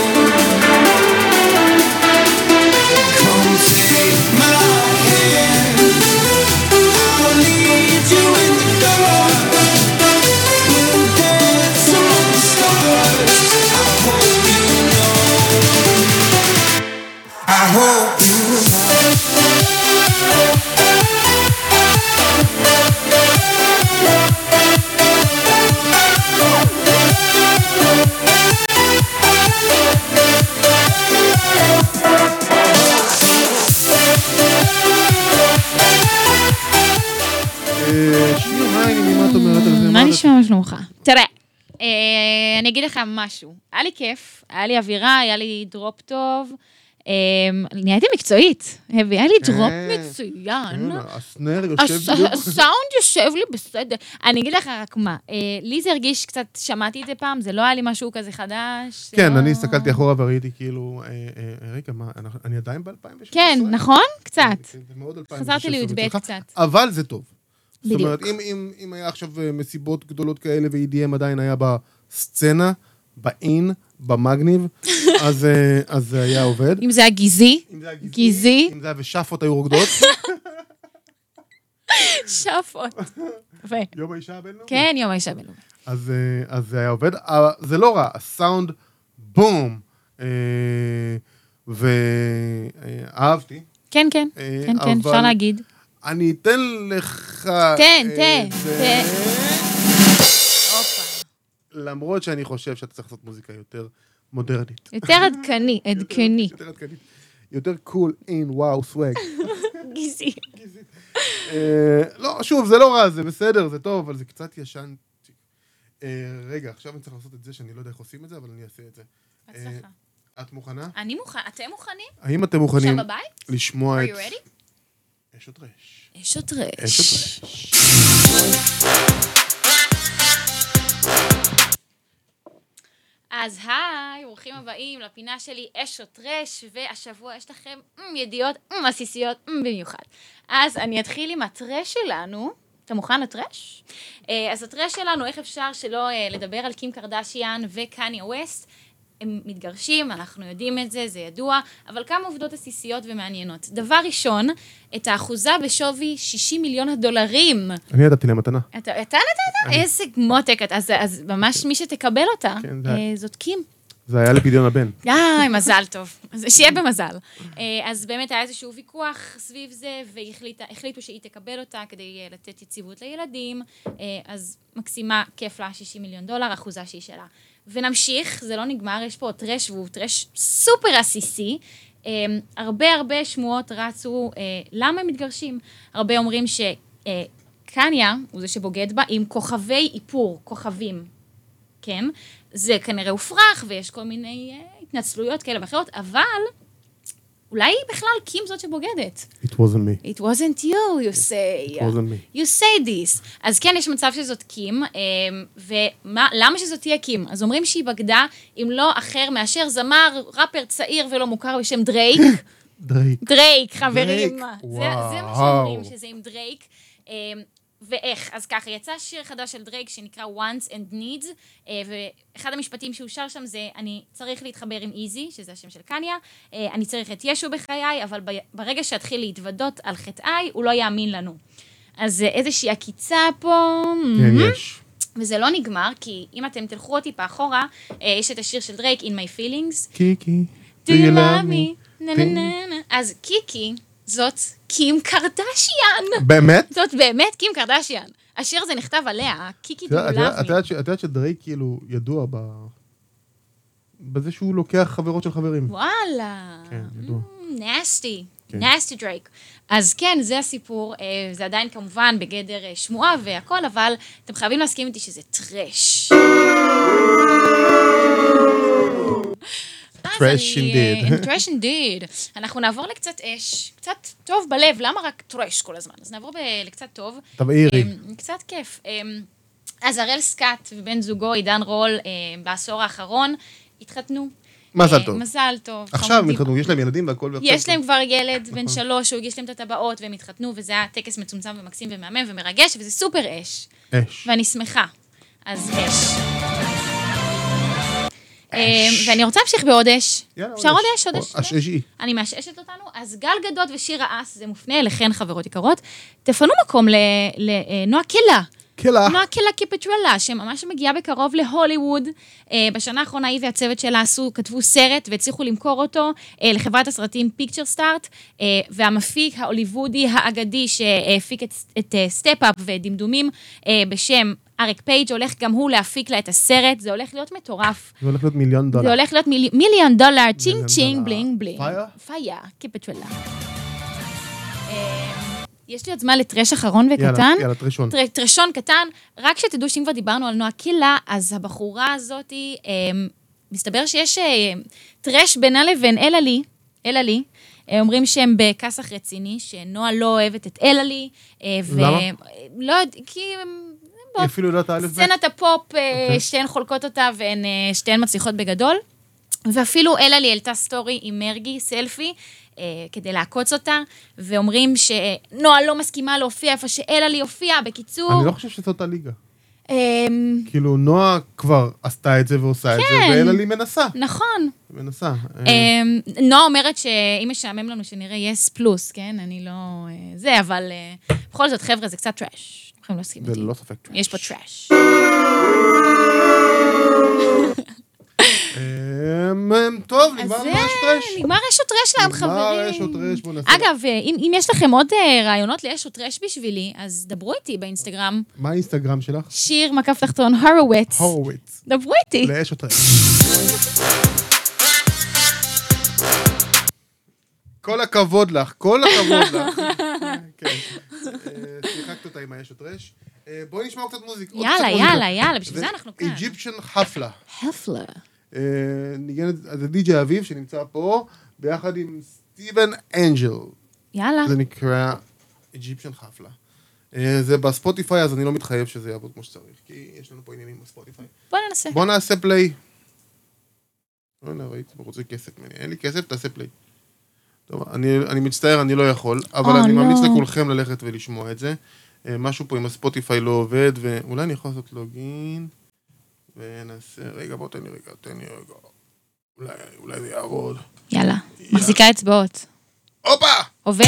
Come take my hand, I'll lead you in the dark. We'll dance among the stars. I hope you know. I hope you know. אה, שירי, מה העניינים? מה את אומרת על זה? מה את- נשמע, מה שלומך? תראה, אה, אני אגיד לך משהו. היה לי כיף, היה לי אווירה, היה לי דרופ טוב. אה, נהייתי מקצועית, הבי, היה לי דרופ כן. מצוין. כן, הסנר הס- יושב בדיוק. הסאונד יושב לי בסדר. אני אגיד לך רק מה, אה, לי זה הרגיש קצת, שמעתי את זה פעם, זה לא היה לי משהו כזה חדש. זה כן, לא- אני הסתכלתי אחורה וראיתי כאילו, אה, אה, אה, רגע, מה, אנחנו- אני כן, עדיין ב-2016? כן, נכון? קצת. זה מאוד 2016 חזרתי לי"ב מצליחה, קצת. אבל זה טוב. זאת אומרת, בדיוק. אם, אם, אם היה עכשיו אה, מסיבות גדולות כאלה ו-EDM עדיין היה בסצנה, באין, במגניב, אז, אה, אז זה היה עובד. אם זה היה גזעי, אם זה היה גזעי. אם זה היה ושאפות היו רוקדות, שפות. [LAUGHS] יפה. יום האישה הבינלאומי. כן, יום האישה הבינלאומי. אז, אה, אז זה היה עובד. אה, זה לא רע, הסאונד בום. אה, ואהבתי. כן, כן. אה, כן, כן, אבל- אפשר להגיד. אני אתן לך... אה, תן, את תן, זה, למרות שאני חושב שאתה צריך לעשות מוזיקה יותר מודרנית. יותר עדכני, עדכני. יותר עדכנית. יותר קול, אין, וואו, סוואג. גזעי. אה, לא, שוב, זה לא רע, זה בסדר, זה טוב, אבל זה קצת ישן. אה, רגע, עכשיו אני צריך לעשות את זה, שאני לא יודע איך עושים את זה, אבל אני אעשה את זה. הצלחה. אה, את מוכנה? אני מוכן, אתם מוכנים? האם אתם מוכנים עכשיו בבית? לשמוע Are את... you ready? יש עוד רעש. יש עוד אה, רעש. יש עוד רעש. אז היי, ברוכים הבאים לפינה שלי אש או טרש, והשבוע יש לכם אמ, ידיעות אמ, עסיסיות אמ, במיוחד. אז אני אתחיל עם הטרש שלנו. אתה מוכן לטרש? אה, אז הטרש שלנו, איך אפשר שלא אה, לדבר על קים קרדשיאן וקניה ווסט? הם מתגרשים, אנחנו יודעים את זה, זה ידוע, אבל כמה עובדות עסיסיות ומעניינות. דבר ראשון, את האחוזה בשווי 60 מיליון הדולרים. אני ידעתי למתנה. אתה, אתה נתת? איזה מותק אתה, אז, אז ממש מי שתקבל אותה, כן, זה- אה, זאת קים. זה היה לפדיון הבן. איי, מזל טוב. אז שיהיה במזל. אה, אז באמת היה איזשהו ויכוח סביב זה, והחליטו שהיא תקבל אותה כדי אה, לתת יציבות לילדים, אה, אז מקסימה, כיף לה 60 מיליון דולר, אחוזה שהיא שלה. ונמשיך, זה לא נגמר, יש פה עוד טרש, והוא טרש סופר עסיסי. אה, הרבה הרבה שמועות רצו אה, למה הם מתגרשים. הרבה אומרים ש... אה, קניה הוא זה שבוגד בה עם כוכבי איפור, כוכבים, כן, זה כנראה הופרך, ויש כל מיני אה, התנצלויות כאלה ואחרות, אבל אולי היא בכלל קים זאת שבוגדת. It wasn't me. It wasn't you, you say. It wasn't me. you say this. אז כן, יש מצב שזאת קים, ולמה שזאת תהיה קים? אז אומרים שהיא בגדה עם לא אחר מאשר זמר, ראפר צעיר ולא מוכר בשם דרייק. דרייק. דרייק, חברים. דרייק, זה- זה מה וואו. שאומרים, שזה עם דרייק. אמ, ואיך, אז ככה, יצא שיר חדש של דרייק שנקרא Once and Needs, אה, ואחד המשפטים שהוא שר שם זה, אני צריך להתחבר עם איזי, שזה השם של קניה, אה, אני צריך את ישו בחיי, אבל ב- ברגע שאתחיל להתוודות על חטאיי, הוא לא יאמין לנו. אז אה, איזושהי עקיצה פה. כן, יש. וזה לא נגמר, כי אם אתם תלכו עוד טיפה אחורה, אה, יש את השיר של דרייק, In My Feelings, קיקי. Do you love me? נה נה Do- נה נה. אז קיקי זאת קים קרדשיאן. [LAUGHS] באמת? זאת באמת קים קרדשיאן. השיר הזה נכתב עליה, קיקי את Do יודעת- you את יודעת- את love me. יודעת ש- את יודעת שדרייק כאילו ידוע ב- בזה שהוא לוקח חברות של חברים. וואלה. כן, ידוע. Hmm, נסטי. כן. נסטי דרייק. אז כן, זה הסיפור, אה, זה עדיין כמובן בגדר אה, שמועה והכל, אבל אתם חייבים להסכים איתי שזה טרש. [LAUGHS] Trash indeed. [LAUGHS] טרש אינדיד. אה, אנחנו נעבור לקצת אש, קצת טוב בלב, למה רק טרש כל הזמן? אז נעבור ב- לקצת טוב. תבעירי. אמ, קצת כיף. אמ, אז הראל סקאט ובן זוגו עידן רול אמ, בעשור האחרון התחתנו. מזל אה, טוב. מזל טוב. עכשיו הם חמודים. התחתנו, יש להם ילדים והכל. ועכשיו- יש להם כבר ילד בן שלוש, הוא הגיש להם את הטבעות והם התחתנו, וזה היה טקס מצומצם ומקסים ומהמם ומרגש, וזה סופר אש. אש. ואני שמחה. אז אש. אמ, ואני רוצה להמשיך בעוד אש. יאללה, אפשר עוד אש? עוד אש? אש אשי. אני מאששת אותנו, אז גל גדות ושיר האס, זה מופנה אליכן, חברות יקרות. תפנו מקום ל- אה, לנועה קלה. קלה. נועה קלה קיפטרלה, שממש מגיעה בקרוב להוליווד. אה, בשנה האחרונה היא והצוות שלה עשו, כתבו סרט והצליחו למכור אותו אה, לחברת הסרטים פיקצ'ר סטארט, והמפיק ההוליוודי האגדי שהפיק את- את סטפ-אפ ודמדומים אה, בשם אריק פייג' הולך גם הוא להפיק לה את הסרט, זה הולך להיות מטורף. זה הולך להיות מיליון דולר. זה הולך להיות מילי- מיליון דולר, צ'ינג מיליון צ'ינג, דולר. בלינג בלינג. פייר? פייר, keep it relax. אמ, יש לי עוד זמן לטרש אחרון וקטן. יאללה, יאללה, טרשון. טר- טרשון קטן, רק שתדעו שאם כבר דיברנו על נועה קילה, אז הבחורה הזאת, אמ, מסתבר שיש אה, טרש בינה לבין אלה לי, אלה לי. אה, אומרים שהם בכסח רציני, שנועה לא אוהבת את אלה לי. אה, ו- למה? לא יודע, כי הם... היא אפילו יודעת האלף בית. אוקיי. סצנת הפופ אה, שתיהן חולקות אותה והן אה, שתיהן מצליחות בגדול. ואפילו אלה לי העלתה סטורי עם מרגי, סלפי, אה, כדי לעקוץ אותה, ואומרים שנועה לא מסכימה להופיע איפה שאלה לי הופיעה, בקיצור. אני לא חושב שזאת הליגה. אמ, כאילו, נועה כבר עשתה את זה ועושה את זה, כן. ואלה לי מנסה. נכון. מנסה. אה, אמ, נועה אומרת שאם משעמם לנו שנראה יס פלוס, כן? אני לא... אה, זה, אבל אה, בכל זאת, חבר'ה, זה קצת טראש. אתם יכולים להסכים זה לא איתי. ללא ספק. יש פה טראש. אמ, אמ, טוב, אז אה, נגמר זה, מהשטרש. נגמר אש או טרש לעם, חברים. נגמר אש או טרש, בוא נעשה. אגב, אה, אם אם יש לכם עוד אה, רעיונות לאש או טרש בשבילי, אז דברו איתי באינסטגרם, מה האינסטגרם שלך? שיר מקף תחתון הורוויץ. הורוויץ. דברו איתי. לאש או טרש. כל הכבוד לך, כל הכבוד [LAUGHS] לך. כן. אה, שיחקת אותה עם האש או טרש. אה, בואי נשמע קצת מוזיק- עוד קצת מוזיקה. יאללה, יאללה, יאללה, בשביל זה אנחנו כאן. איג'יפשן חפלה. הפלה. אה, ניגן את זה די.ג'י אביב שנמצא פה, ביחד עם סטיבן אנג'ל. יאללה. זה נקרא איג'יפשן חפלה. אה, זה בספוטיפיי, אז אני לא מתחייב שזה יעבוד כמו שצריך, כי יש לנו פה עניינים בספוטיפיי. בוא ננסה. בוא נעשה פליי. לא יודע, ראיתי, הוא רוצה כסף ממני. אין לי כסף, תעשה פליי. טוב, אני, אני מצטער, אני לא יכול, אבל אה, אני לא. ממליץ לכולכם ללכת ולשמוע את זה. אה, משהו פה עם הספוטיפיי לא עובד, ואולי אני יכול לעשות לוגין, ונעשה... רגע, בוא תן לי רגע, תן לי רגע. אולי, אולי זה יעבוד. יאללה. מחזיקה אצבעות. הופה! עובד?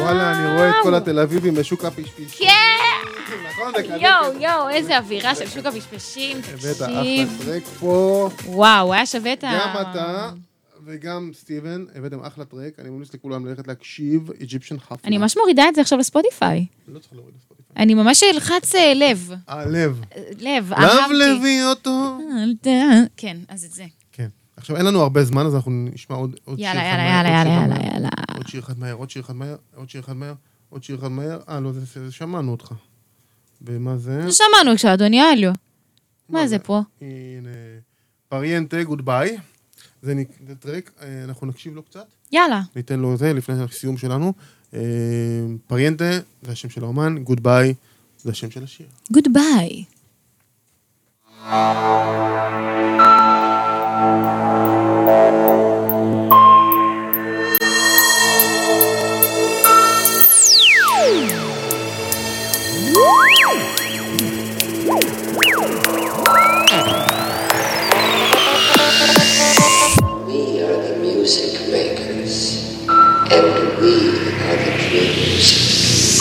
וואלה, אני רואה את כל התל אביבים בשוק הפישפיש. כן! נכון, זה כזה. יואו, יואו, איזה אווירה של שוק הפשפשים, הבאת אחלה תקשיב. טרק פה. וואו, היה שווה את ה... גם אתה וגם סטיבן, הבאתם אחלה טרק, אני ממליץ לכולם ללכת להקשיב, איג'יפשן חפלה. אני ממש מורידה את זה עכשיו לספוטיפיי. לא צריך להוריד לספוטיפיי. אני ממש אלחץ אה, לב. הלב. אה, לב, לב אהבתי. לוי אותו. כן, אז את זה. כן. עכשיו, אין לנו הרבה זמן, אז אנחנו נשמע עוד עוד שיר אחד יאללה, מהר. יאללה, יאללה, עוד שיר יאללה, אחד יאללה, מהר. יאללה. עוד שיר אחד מהר, עוד שיר אחד מהר, עוד שיר אחד מהר, עוד שיר אחד מהר. אה, לא, זה- זה שמענו אותך. ומה זה? שמענו עכשיו, אדוני אליו. מה זה פה? הנה, פריאנטה, גוד ביי. זה נק- זה טרק, אה, אנחנו נקשיב לו קצת. יאללה. ניתן לו זה לפני הסיום שלנו. אה, פריאנטה, זה השם של האומן, גוד ביי, זה השם של השיר. גוד ביי. We are the music makers, and we are the dreamers.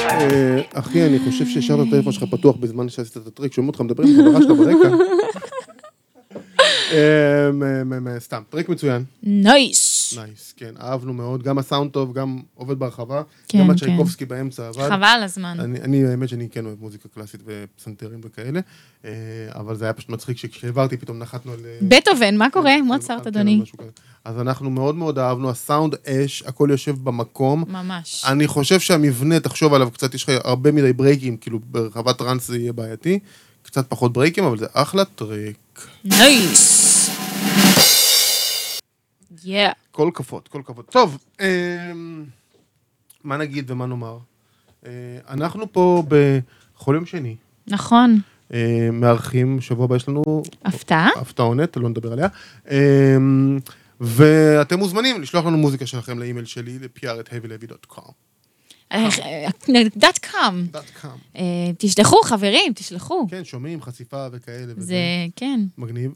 אה, אחי, אני חושב שהשארת את הטלפון שלך פתוח בזמן שעשית את הטריק, שומעים אותך מדבר עם חברה שלך ברקע. אה, מ- מ- מ- סתם, טריק מצוין. נויס. נייס, כן, אהבנו מאוד. גם הסאונד טוב, גם עובד בהרחבה. כן, גם כן. הצ'ייקובסקי באמצע עבד. חבל על הזמן. אני, אני, האמת שאני כן אוהב מוזיקה קלאסית ופסנתרים וכאלה, אה, אבל זה היה פשוט מצחיק שכשהעברתי פתאום נחתנו על... אה, בטהובן, מה קורה? כן, מוצרט, כן, אדוני. משהו כזה. אז אנחנו מאוד מאוד אהבנו, הסאונד אש, הכל יושב במקום. ממש. אני חושב שהמבנה, תחשוב עליו קצת, יש לך הרבה מדי ברייקים, כאילו ברחבת טראנס זה יהיה בעייתי, קצת פחות ברייקים, אבל זה אחלה טריק. נויס. יא. כל כבוד, כל כבוד. טוב, אמ, מה נגיד ומה נאמר? אה, אנחנו פה בכל יום שני, נכון. אה, מארחים, שבוע הבא יש לנו הפתעה? הפתעונת, לא נדבר עליה. אמ, ואתם מוזמנים לשלוח לנו מוזיקה שלכם לאימייל שלי, ל-pr@heavylevy.com. אה, דאט קאם. אה, .com. תשלחו, חברים, תשלחו. כן, שומעים, חשיפה וכאלה, זה, וזה כן. מגניב.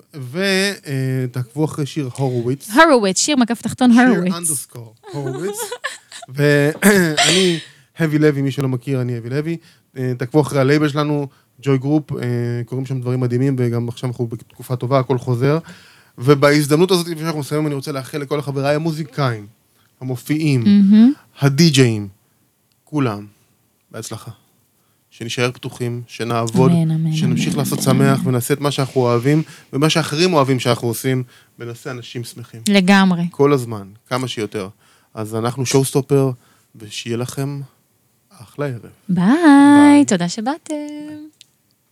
ותעקבו אחרי שיר הורוביץ. הורוביץ, שיר מקף תחתון שיר הורוביץ. אנדרסקור [LAUGHS] הורוביץ. [CLEARS THROAT] ואני, heavy לוי, מי שלא מכיר, אני heavy לוי. אה, תעקבו אחרי הלייבל שלנו, ג'וי גרופ, אה, קורים שם דברים מדהימים, וגם עכשיו אנחנו בתקופה טובה, הכל חוזר. ובהזדמנות הזאת, לפני שאנחנו מסיימים, אני רוצה לאחל לכל חבריי המוזיקאים, המופיעים, Mm-hmm. הדי-ג'אים, כולם, בהצלחה. שנשאר פתוחים, שנעבוד, אמן, אמן, שנמשיך אמן, לעשות אמן, שמח ונעשה את מה שאנחנו אוהבים ומה שאחרים אוהבים שאנחנו עושים, ונעשה אנשים שמחים. לגמרי. כל הזמן, כמה שיותר. אז אנחנו שואו סטופר, ושיהיה לכם אחלה ערב. ביי, תודה שבאתם.